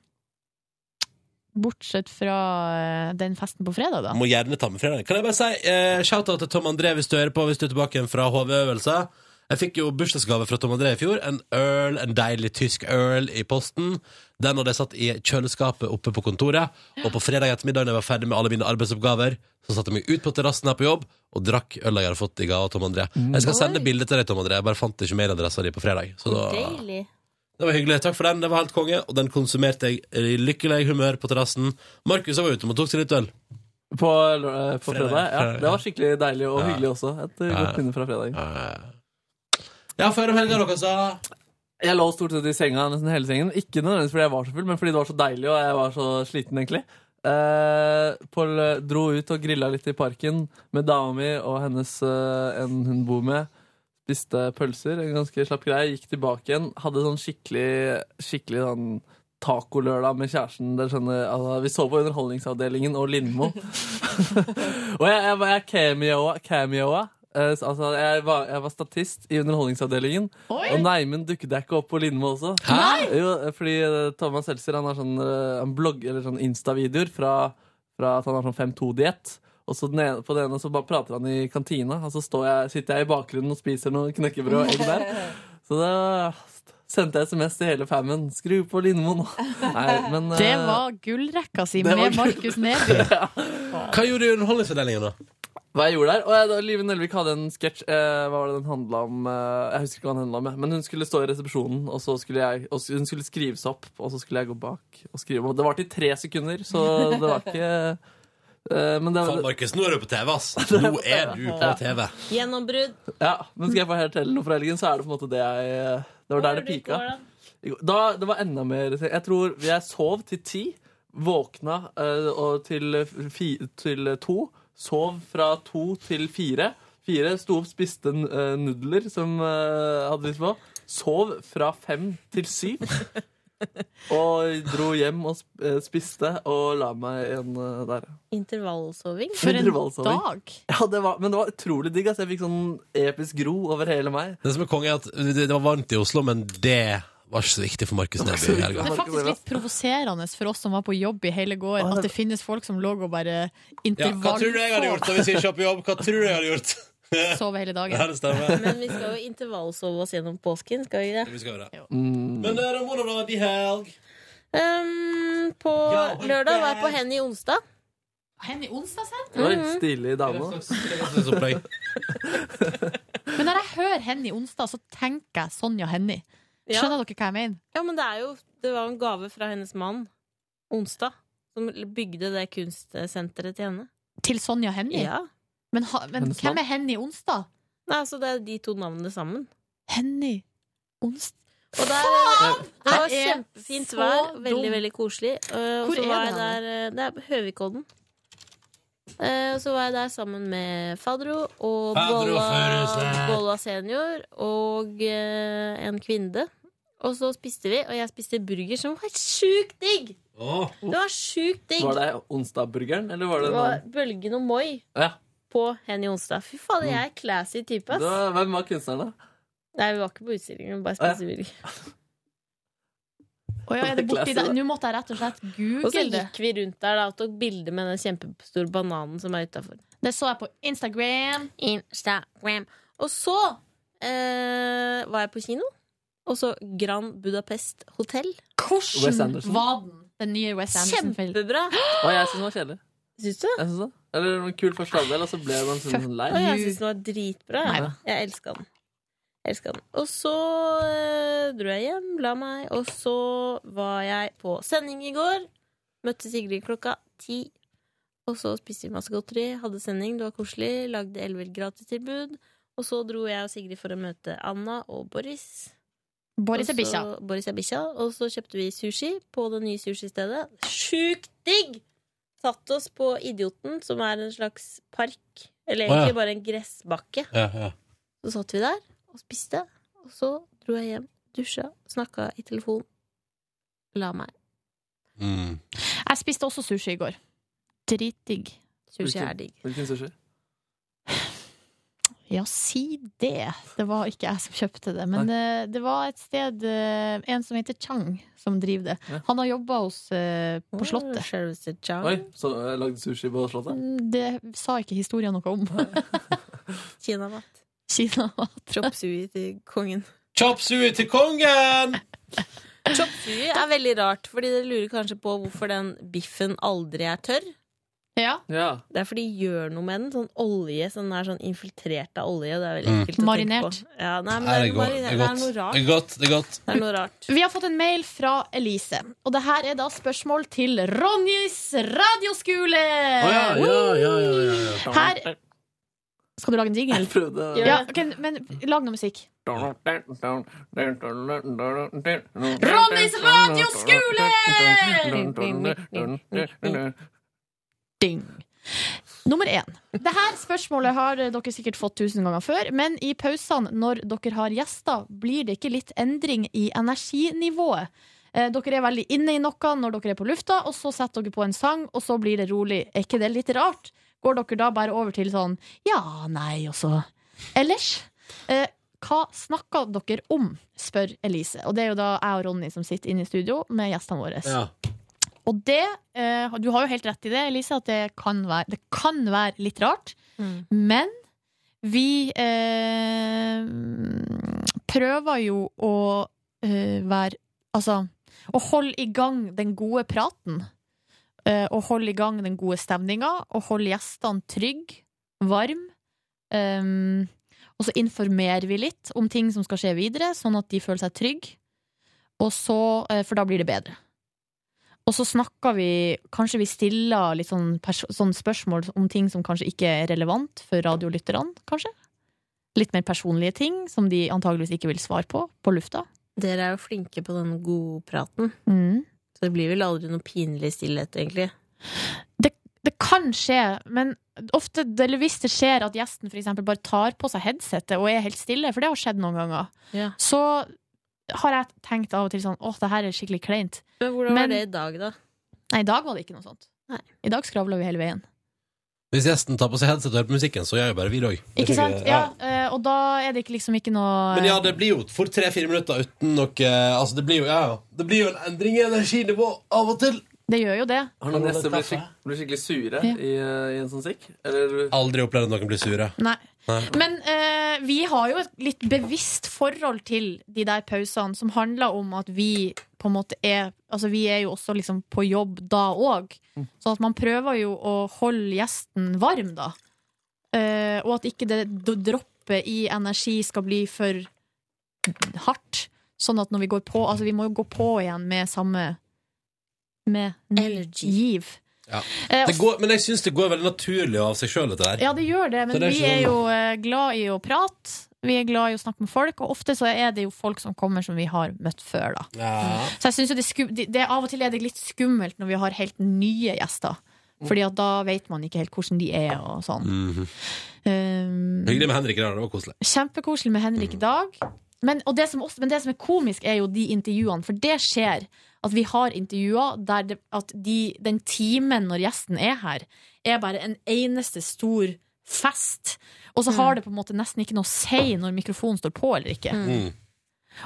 Bortsett fra eh, den festen på fredag, da? Må gjerne ta med fredagen. Kan jeg bare si eh, shout-out til Tom André hvis du hører på, hvis du er tilbake igjen fra HV-øvelser. Jeg fikk jo bursdagsgave fra Tom André i fjor. En øl, en deilig tysk øl i posten. Den hadde jeg satt i kjøleskapet oppe på kontoret. Og på fredag ettermiddag når jeg var ferdig med alle mine arbeidsoppgaver, så satte jeg meg ut på terrassen her på jobb og drakk øla jeg hadde fått i gave av Tom André. Jeg skal sende bilde til deg, Tom André. Jeg bare fant ikke mailadressa di på fredag. Så da... Deilig. Det var hyggelig. Takk for den. Det var helt konge. Og den konsumerte jeg i lykkelig humør på terrassen. Markus var ute og tok seg litt øl. På, lø- på Fredag, fredag. Ja, fredag, det var skikkelig deilig og Ja. hyggelig også. Et eh, Ja. godt minne fra fredagen. Ja, før om helga, dere sa. Jeg lå stort sett i senga nesten hele sengen. Ikke nødvendigvis fordi jeg var så full, men fordi det var så deilig, og jeg var så sliten, egentlig. Eh, Pål eh, dro ut og grilla litt i parken med dama mi og hennes eh, en hun bor med. Spiste pølser, en ganske slapp greie. Gikk tilbake igjen. Hadde sånn skikkelig skikkelig sånn tacolørdag med kjæresten. Dere skjønner, altså, Vi så på Underholdningsavdelingen og Lindmo. og jeg, jeg, var- jeg cameoa. cameoa. Eh, så- altså, jeg, var, jeg var statist i Underholdningsavdelingen. Oi! Og Neimen dukket jeg ikke opp på Lindmo også. Hæ? Jo, fordi eh, Thomas Seltzer han har sånn, eh, han blogg, eller sånn Insta-videoer fra, fra at han har sånn 5-2-diett. Og så den ene, på det ene så bare prater han i kantina, og så står jeg, sitter jeg i bakgrunnen og spiser noe knekkebrød og egg der. Så da sendte jeg SMS til hele famen. Skru på Lindmo nå! Nei, men eh, Det var gullrekka si det var med gull- Markus Neby. Hva gjorde du i Underholdningsavdelingen, da? hva jeg gjorde der. Og jeg, da, Live Nelvik hadde en sketsj. Eh, hva var det den handla om? Eh, jeg husker ikke hva den handla om, jeg. men hun skulle stå i resepsjonen, og så skulle jeg, og s- hun skulle skrives opp, og så skulle jeg gå bak og skrive om. Og Det varte i tre sekunder, så det var ikke eh, men det, Faen, Markus, nå er du på TV, ass. Nå er du på TV. Gjennombrudd. ja, men skal jeg bare fortelle noe fra helgen, så er det på en måte det jeg eh, Det var der det pika. I går- Da, det var enda mer Jeg tror jeg sov til ti, våkna eh, og til, fi, til to, sov fra to til fire. Fire sto opp, spiste eh, nudler som eh, hadde lyst på. Sov fra fem til syv. Og dro hjem og sp- eh, spiste og la meg igjen eh, der. Intervallsoving? For en Intervallsoving. dag. Ja, det var, men det var utrolig digg. Altså. Jeg fikk sånn episk ro over hele meg. Det som er konge, er at det det var varmt i Oslo, men det var ikke så viktig for Markus Neby i Det helga. er faktisk litt provoserende for oss som var på jobb i hele går, at det finnes folk som lå og bare Ja, hva intervall tror du jeg hadde gjort da hvis jeg ikke var på jobb? Hva tror du jeg hadde gjort? Sove hele dagen. Ja, det stemmer. Men vi skal jo intervallsove oss gjennom påsken, skal vi ikke Vi det? skal gjøre det. Mm. Men eh, Ramona, hvordan var din helg? Um, på Ja, og lørdag var jeg der. på Henny onsdag. Henny onsdag, sant? Oi, stilig dame. Men når jeg hører Henny onsdag, så tenker jeg Sonja Henny. Ja. Skjønner dere hva jeg mener? Ja, men det er jo Det var jo en gave fra hennes mann, onsdag, som bygde det kunstsenteret til henne. Til Sonja Henny? Ja. Men, ha, men Hennes hvem navn? er Henny onsdag? Nei, altså det er de to navnene sammen. Henny onsdag Og der, Det var Jeg er kjempefint så vær. Veldig, dum. veldig koselig. Eh, Og Hvor så er var det jeg hen? der eh, Det er på Høvikodden. Eh, Og så var jeg der sammen med Fadro og Fadro Bolla, Furuseth. Bolla senior og eh, en kvinne. Og så spiste vi, og jeg spiste burger som var sjukt digg! Åh. Det var sjukt digg! Var det onsdagburgeren, eller var det Det en var annen? Bølgen og Moi Ja. på Henny Onsdag. Fy fader, jeg er classy type, Det ass. var, hvem var kunstneren, da? Nei, vi var ikke på utstillingen, vi bare Å, ja. spiste burger. Å ja, er det borti Klasse, der? da. Nå måtte jeg rett og slett Og så google det. gikk vi rundt der da, og tok bilde med den kjempestore bananen som er utafor. Det så jeg på Instagram. Instagram. Og så eh, var jeg på kino. Og så Grand Budapest Hotel. Wes Hvordan Anderson. var den? Den nye West Anderson-filmen. Kjempebra! Å, jeg syns den var kjedelig. Syns du? Jeg synes det. Eller det var en kul første halvdel, og så ble man sånn sånn lei. Og jeg syns den var dritbra. jeg. Neida. Jeg elska den. Jeg elsket den. Og så eh, dro jeg hjem, la meg, og så var jeg på sending i går. Møtte Sigrid klokka ti. Og så spiste vi masse godteri, hadde sending, det var koselig. Lagde Elver gratistilbud. Og så dro jeg og Sigrid for å møte Anna og Boris. Boris Og er bikkja. så- Boris er bikkja. Og så kjøpte vi sushi på det nye sushistedet. Sjukt digg! Satt oss på Idioten, som er en slags park. Å, Eller ja. egentlig bare en gressbakke. Ja, ja. Så satt vi der og spiste. Og så dro jeg hjem, dusja, snakka i telefon. La meg. Mm. Altså- Jeg spiste også sushi i går. Dritdigg. Sushi er digg. Hvilken sushi? Ja, si det. Det var ikke jeg som kjøpte det. Men eh, det var et sted eh, En som heter Chang, som driver det. Ja. Han har jobba hos eh, på Åh, Slottet. Selveste Chang. Oi, så jeg lagde sushi på Slottet? Mm, Det sa ikke historien noe om. Kinamat. Kina Chop sui til kongen. Chop suey til kongen! Chop sui er veldig rart, fordi dere lurer kanskje på hvorfor den biffen aldri er tørr. Ja. Ja. Det er fordi de gjør noe med den. Sånn olje som er sånn infiltrert av olje. og Det er veldig Mm. ekkelt å Marinert. tenke på. Ja, nei, men Nei, det, det er er godt. Det marinert. er det er godt. noe Det rart. er godt. Det er godt. Det er noe rart. Vi har fått en mail fra Elise, og det her er da spørsmål til Ronjys radioskole! Her Skal du lage en jingle? Jeg prøvde Ja, ok, men lag noe musikk. Ronnys radioskole! Ding. Nummer én. Det her spørsmålet har dere sikkert fått tusen ganger før, men i pausene når dere har gjester, blir det ikke litt endring i energinivået? Eh, Dere er veldig inne i noe når dere er på lufta, og så setter dere på en sang, og så blir det rolig. Er ikke det litt rart? Går dere da bare over til sånn ja, nei, og så Ellers? Eh, hva snakker dere om, spør Elise. Og det er jo da jeg og Ronny som sitter inne i studio med gjestene våre. Ja. Og det, eh, du har jo helt rett i det, Elise, at det kan være, det kan være litt rart. Mm. Men vi eh, prøver jo å eh, være Altså, å holde i gang den gode praten. Eh, og holde i gang den gode stemninga, og holde gjestene trygge, varm. Eh, og så informerer vi litt om ting som skal skje videre, sånn at de føler seg trygge. Og så, eh, for da blir det bedre. Og så snakker vi Kanskje vi stiller litt sånn, pers sånn spørsmål om ting som kanskje ikke er relevant for radiolytterne, kanskje. Litt mer personlige ting som de antageligvis ikke vil svare på på lufta. Dere er jo flinke på den godpraten. Mm. Så det blir vel aldri noe pinlig stillhet, egentlig. Det kan skje, men ofte, eller hvis det skjer at gjesten for eksempel bare tar på seg headsetet og er helt stille, for det har skjedd noen ganger, Ja. så har jeg tenkt av og til sånn åh, det her er skikkelig kleint. Men hvordan Men- var det i dag, da? Nei, i dag var det ikke noe sånt. I dag skravla vi hele veien. Hvis gjesten tar på seg headset og hører på musikken, så gjør jo bare vi det òg. Ikke sant? Ja, eh, og da er det ikke liksom ikke noe Men ja, det blir jo fort tre-fire minutter uten noe Altså, det blir jo ja, ja. Det blir jo en endring i energinivå av og til. Det gjør jo det. Har noen gjester blitt skik blitt skikkelig sure Ja. i, eh, i en sånn sikk? Eller Aldri opplevd at noen blir sure. Nei. Nei. Men eh, vi har jo et litt bevisst forhold til de der pausene som handler om at vi på en måte er Altså vi er jo også liksom på jobb da òg. Så at man prøver jo å holde gjesten varm, da. Eh, og at ikke det d- droppet i energi skal bli for hardt. Sånn at når vi går på Altså vi må jo gå på igjen med samme Med giv. Ja. Eh, Det går, men jeg syns det går veldig naturlig av seg sjøl, dette der. Ja, det gjør det, men Så det er vi ikke er sånn- jo eh, glad i å prate. Vi er glad i å snakke med folk, og ofte så er det jo folk som kommer som vi har møtt før. da. Ja. Så jeg synes jo det, skum, det, det Av og til er det litt skummelt når vi har helt nye gjester. Fordi at da vet man ikke helt hvordan de er og sånn. Mhm. Um, Hyggelig med Henrik der, det var koselig. Kjempekoselig med Henrik i dag. Men, og det som ofte, men det som er komisk, er jo de intervjuene. For det skjer at vi har intervjuer der det, at de, den timen når gjesten er her, er bare en eneste stor fest. Og så Mm. har det på en måte nesten ikke noe å si når mikrofonen står på eller ikke. Mm.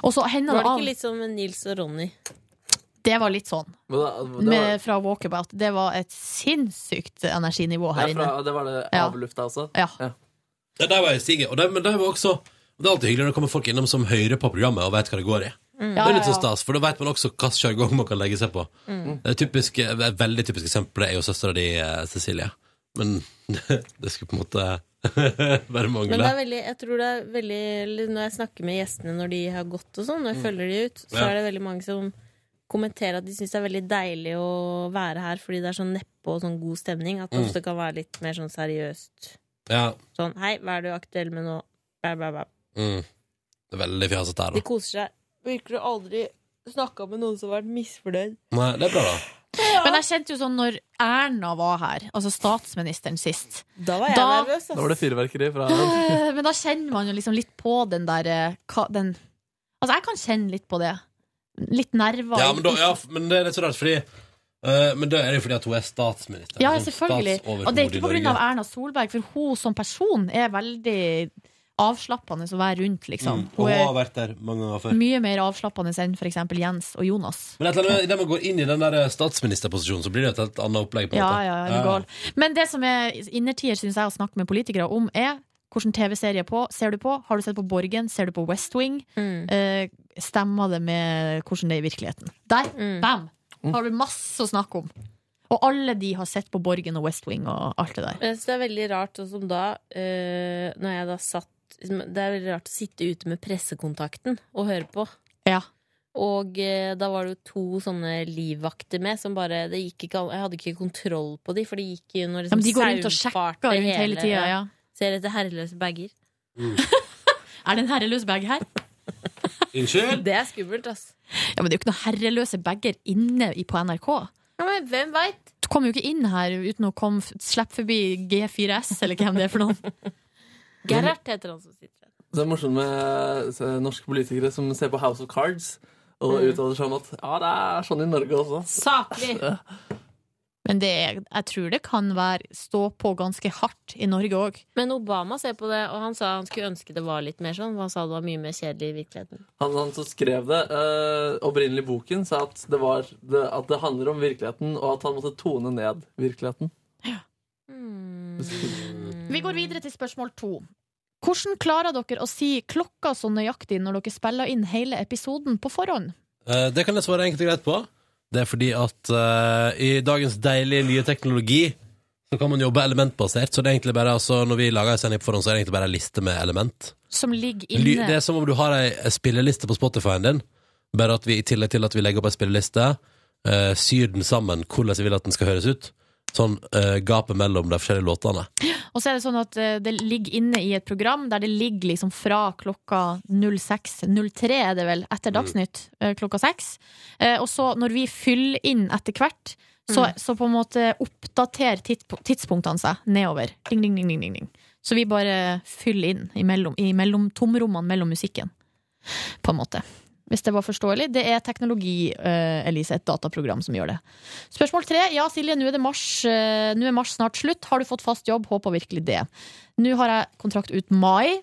Og så hender Var det det av ikke litt som med Nils og Ronny? Det var litt sånn. Men da- det var- Med, fra Walkabout. Det var et sinnssykt energinivå her Ja, inne. fra, det var det Ja. avlufta også? Ja. Ja, der var jeg stiget. Og det, men der var også Det er alltid hyggelig når det kommer folk innom som hører på programmet og vet hva det går i. Mm. Det er litt Ja, så ja. stas, for da vet man også hva sjargong man kan legge seg på. Mm. Det er typisk, eh, et veldig typisk eksempel er jo søstera di, eh, Cecilie. Men det skulle på en måte bare Men mangle. det er veldig, jeg tror det er veldig eller Når jeg snakker med gjestene når de har gått og sånn, når jeg Mm. følger de ut, så Ja. er det veldig mange som kommenterer at de syns det er veldig deilig å være her fordi det er sånn neppe og sånn god stemning. At det Mm. ofte kan være litt mer sånn seriøst. Ja. Sånn 'hei, hva er du aktuell med nå?' Bæ, bæ, bæ. Mm. Det er veldig fjasete her, De da. koser seg. Virker du aldri snakka med noen som har vært misfornøyd? Nei, det er bra, da. Men jeg kjente jo sånn når Erna var her, altså statsministeren sist Da var jeg nervøs, Da var det fyrverkeri fra Øh, Men da kjenner man jo liksom litt på den der eh, hva- den, Altså, jeg kan kjenne litt på det. Litt nerver. Ja, men, da, ja, f- men det er litt så rart, fordi eh, Men det er jo fordi at hun er statsminister. Ja, liksom selvfølgelig. statsoverhode Og det er ikke i på grunn Norge. av Erna Solberg, for hun som person er veldig avslappende å være rundt, liksom. Mm, Og Hun hun har er vært der mange ganger før. mye mer avslappende enn for eksempel Jens og Jonas. Men et eller annet, idet man går inn i den der eh, statsministerposisjonen, så blir det et helt annet opplegg. på en Ja, måte. ja, ja, gal. Men det som er innertier, syns jeg, å snakke med politikere om, er Hvilken TV-serie på, ser du på? Har du sett på Borgen? Ser du på West Wing? Mm, Eh, stemmer det med hvordan det er i virkeligheten? Der, mm. bam! Har du masse å snakke om. Og alle de har sett på Borgen og West Wing og alt det der. Jeg synes det er veldig rart, sånn som da, eh, når jeg da satt Det er veldig rart å sitte ute med pressekontakten og høre på. Ja. Og eh, da var det jo to sånne livvakter med som bare det gikk ikke, an- Jeg hadde ikke kontroll på de, for de gikk jo Ja, når liksom, men de går rundt og saumfarte sjekker rundt hele tida, ja. Ser etter herreløse bager. Er det en herreløs bag her? Unnskyld? Det er skummelt, ass. Ja, Men det er jo ikke noen herreløse bager inne i- på NRK. Ja, men hvem veit? Du kommer jo ikke inn her uten å komme, slippe forbi G4S, eller hvem det er for noen. Gerhard heter han som sitter der. Det er morsomt med eh, norske politikere som ser på House of Cards og Mm. uttaler seg om at ja, det er sånn i Norge også. Saklig! Men det er, jeg tror det kan være stå på ganske hardt i Norge òg. Men Obama ser på det, og han sa han skulle ønske det var litt mer sånn. for Han sa det var mye mer kjedelig i virkeligheten. Han, han som skrev det, eh, opprinnelig i boken, sa at det, var, det, at det handler om virkeligheten, og at han måtte tone ned virkeligheten. Hmm. Vi går videre til spørsmål to. Hvordan klarer dere å si klokka så nøyaktig når dere spiller inn hele episoden på forhånd? Eh, Det kan jeg svare enkelt og greit på. Det er fordi at eh, i dagens deilige nye teknologi så kan man jobbe elementbasert. Så det er egentlig bare, altså, når vi lager en sending på forhånd, så er det egentlig bare en liste med element. Som ligger Ly- Det inne er som om du har ei ei spilleliste på Spotify-en din, bare at vi i tillegg til at vi legger opp ei spilleliste, eh, syr den sammen hvordan vi vil at den skal høres ut. Sånn eh, gapet mellom de forskjellige låtene. Og så er det sånn at eh, det ligger inne i et program der det ligger liksom fra klokka 06.03 er det vel, etter Dagsnytt, eh, klokka 6. Eh, Og så når vi fyller inn etter hvert, så, så på en måte oppdaterer tidp- tidspunktene seg nedover. Ding, ding, ding, ding, ding, ding. Så vi bare fyller inn i mellom, i mellom tomrommene mellom musikken, på en måte. hvis det var forståelig. Det er teknologi, eh, Elise, et dataprogram som gjør det. Spørsmål tre. Ja, Silje, nå er, det mars, eh, nå er mars snart slutt. Har du fått fast jobb? Håper virkelig det. Nå har jeg kontrakt ut mai.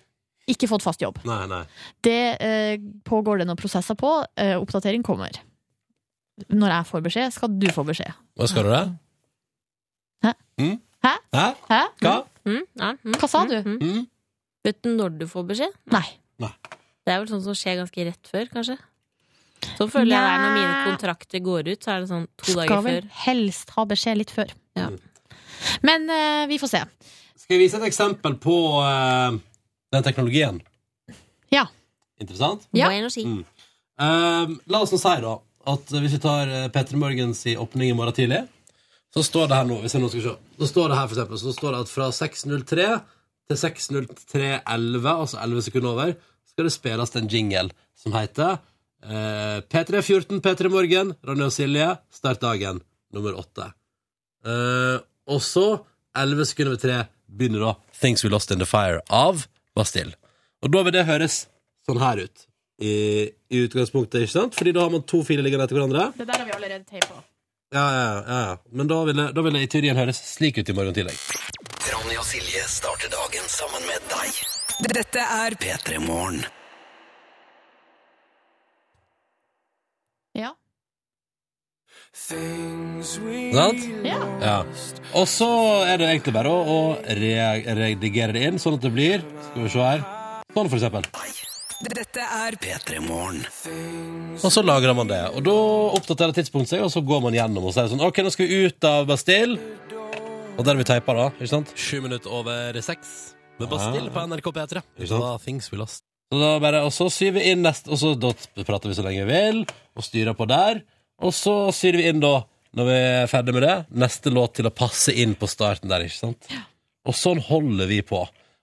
Ikke fått fast jobb. Nei, nei. Det eh, pågår det noen prosesser på. Eh, oppdatering kommer. Når jeg får beskjed, skal du få beskjed. Hva skal du det? Hæ? Mm? Hæ? Hæ? Hæ? Hva? Mm, ja, mm, Hva sa mm, du? Mm. Vet du når du får beskjed? Nei. Nei. Det er vel sånn som skjer ganske rett før, kanskje? Så føler jeg det er når mine Nei. kontrakter går ut, så er det sånn to Skal dager vel før. helst ha beskjed litt før. Ja. Men eh, vi får se. Skal jeg vise et eksempel på eh, den teknologien? Ja. Interessant? Ja. Bra energi. Mm. Um, la oss nå si da at hvis vi tar eh, Petter Morgens i åpning i morgen tidlig, så står det her nå hvis jeg nå skal se, så står det her for eksempel, så står det at fra 6.03 til 6.03.11, altså 11 sekunder over, skal det spilles en jingle som heter eh, P314 P3 Morgen, Ronny og Silje, start dagen, nummer 8. Eh, og så, 11 sekunder ved 3, begynner da Things We Lost In The Fire av Bastille. Og da vil det høres sånn her ut. I, i utgangspunktet, ikke sant? Fordi da har man to filer liggende etter hverandre. Det der har vi allerede teipa. Ja, ja, ja, ja. Men da vil, det, da vil det i teorien høres slik ut i morgen tidlig. Ronny og Silje starter dagen sammen med deg. Dette er P3 Morgen. Ja. Sant? Ja. Ja. Og så er det egentlig bare å, å re redigere det inn, sånn at det blir Skal vi se her. Sånn, for eksempel. Dette er P3 Morgen. Og så lagrer man det. Og da oppdaterer tidspunktet seg, og så går man gjennom og sier sånn OK, nå skal vi ut av Bastille. Og der er vi teipa, da. Ikke sant? Sju minutter over seks med Bastille på NRK P3. Ikke sant? things we lost. Så da bare, og så syr vi inn neste, og så da prater vi så lenge vi vil, og styrer på der. Og så syr vi inn da, når vi er ferdig med det, neste låt til å passe inn på starten der, ikke sant? Og sånn holder vi på.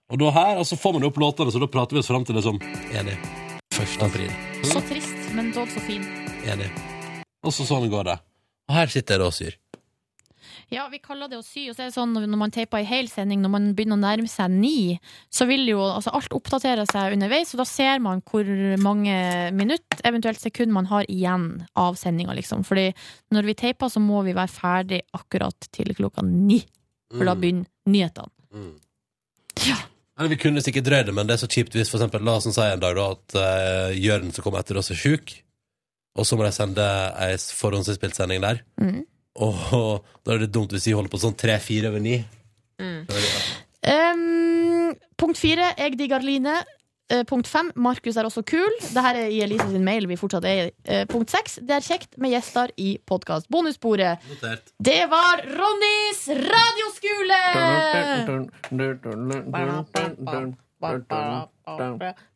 Og da her, og så får man opp låtene, så da prater vi oss frem til det som Enig. 1. april. Så trist, men dog så fin. Enig. Og så sånn går det. Og her sitter jeg da og syr. Ja, vi kaller det å sy, og så er det sånn når man teiper ei hel sending, når man begynner å nærme seg ni, så vil jo altså, alt oppdatere seg underveis, og da ser man hvor mange minutt, eventuelt sekund, man har igjen av sendinga, liksom. Fordi når vi teiper, så må vi være ferdig akkurat til klokka ni, for da Mm. begynner nyhetene. Eller vi kunne sikkert drøyd det, men det er så kjipt hvis for eksempel, la oss nå si en dag da at uh, Jørn som kommer etter oss er sjuk, og så må de sende ei forhåndsinnspilt sending der. Mm. Og da er det dumt hvis vi holder på sånn tre-fire over ni. Um, punkt fire, jeg digger Line. Eh, punkt fem, Markus er også kul. Dette er i Elise sin mail vi fortsatt er i. Eh, punkt seks, det er kjekt med gjester i podkast. Bonusbordet. Notert. Det var Ronnys radioskole!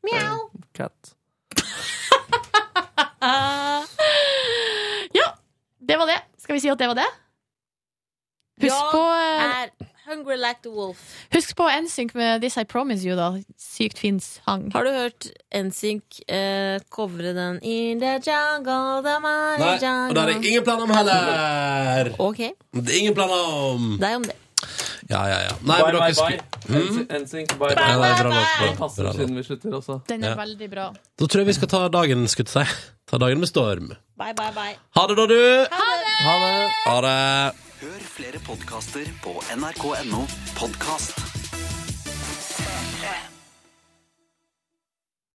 Mjau. Katt. Ah, Ja, det var det. Skal vi si at det var det? Husk Jeg på eh, er hungry like the wolf. Husk på NSYNC med This I Promise You, da. Sykt fin sang. Har du hørt NSYNC eh, covre den In the jungle, the mighty Nei, og jungle det har jeg ingen planer om heller! Ok, Det er ingen planer om! det er om det. Ja, ja, ja. Nei, Bye, men dere bye, bye. Mm. NSYNC, bye, Ja, det er bra bye. nok, bra. Den passer Bra nok. siden vi slutter også. Den er Ja. veldig bra. Da tror jeg vi skal ta dagen, skulle jeg til å si. Ta dagen med storm. Bye, bye, bye. Ha det, da, du! Ha det! Ha det! Ha det! Hør flere podkaster på nrk.no podkast.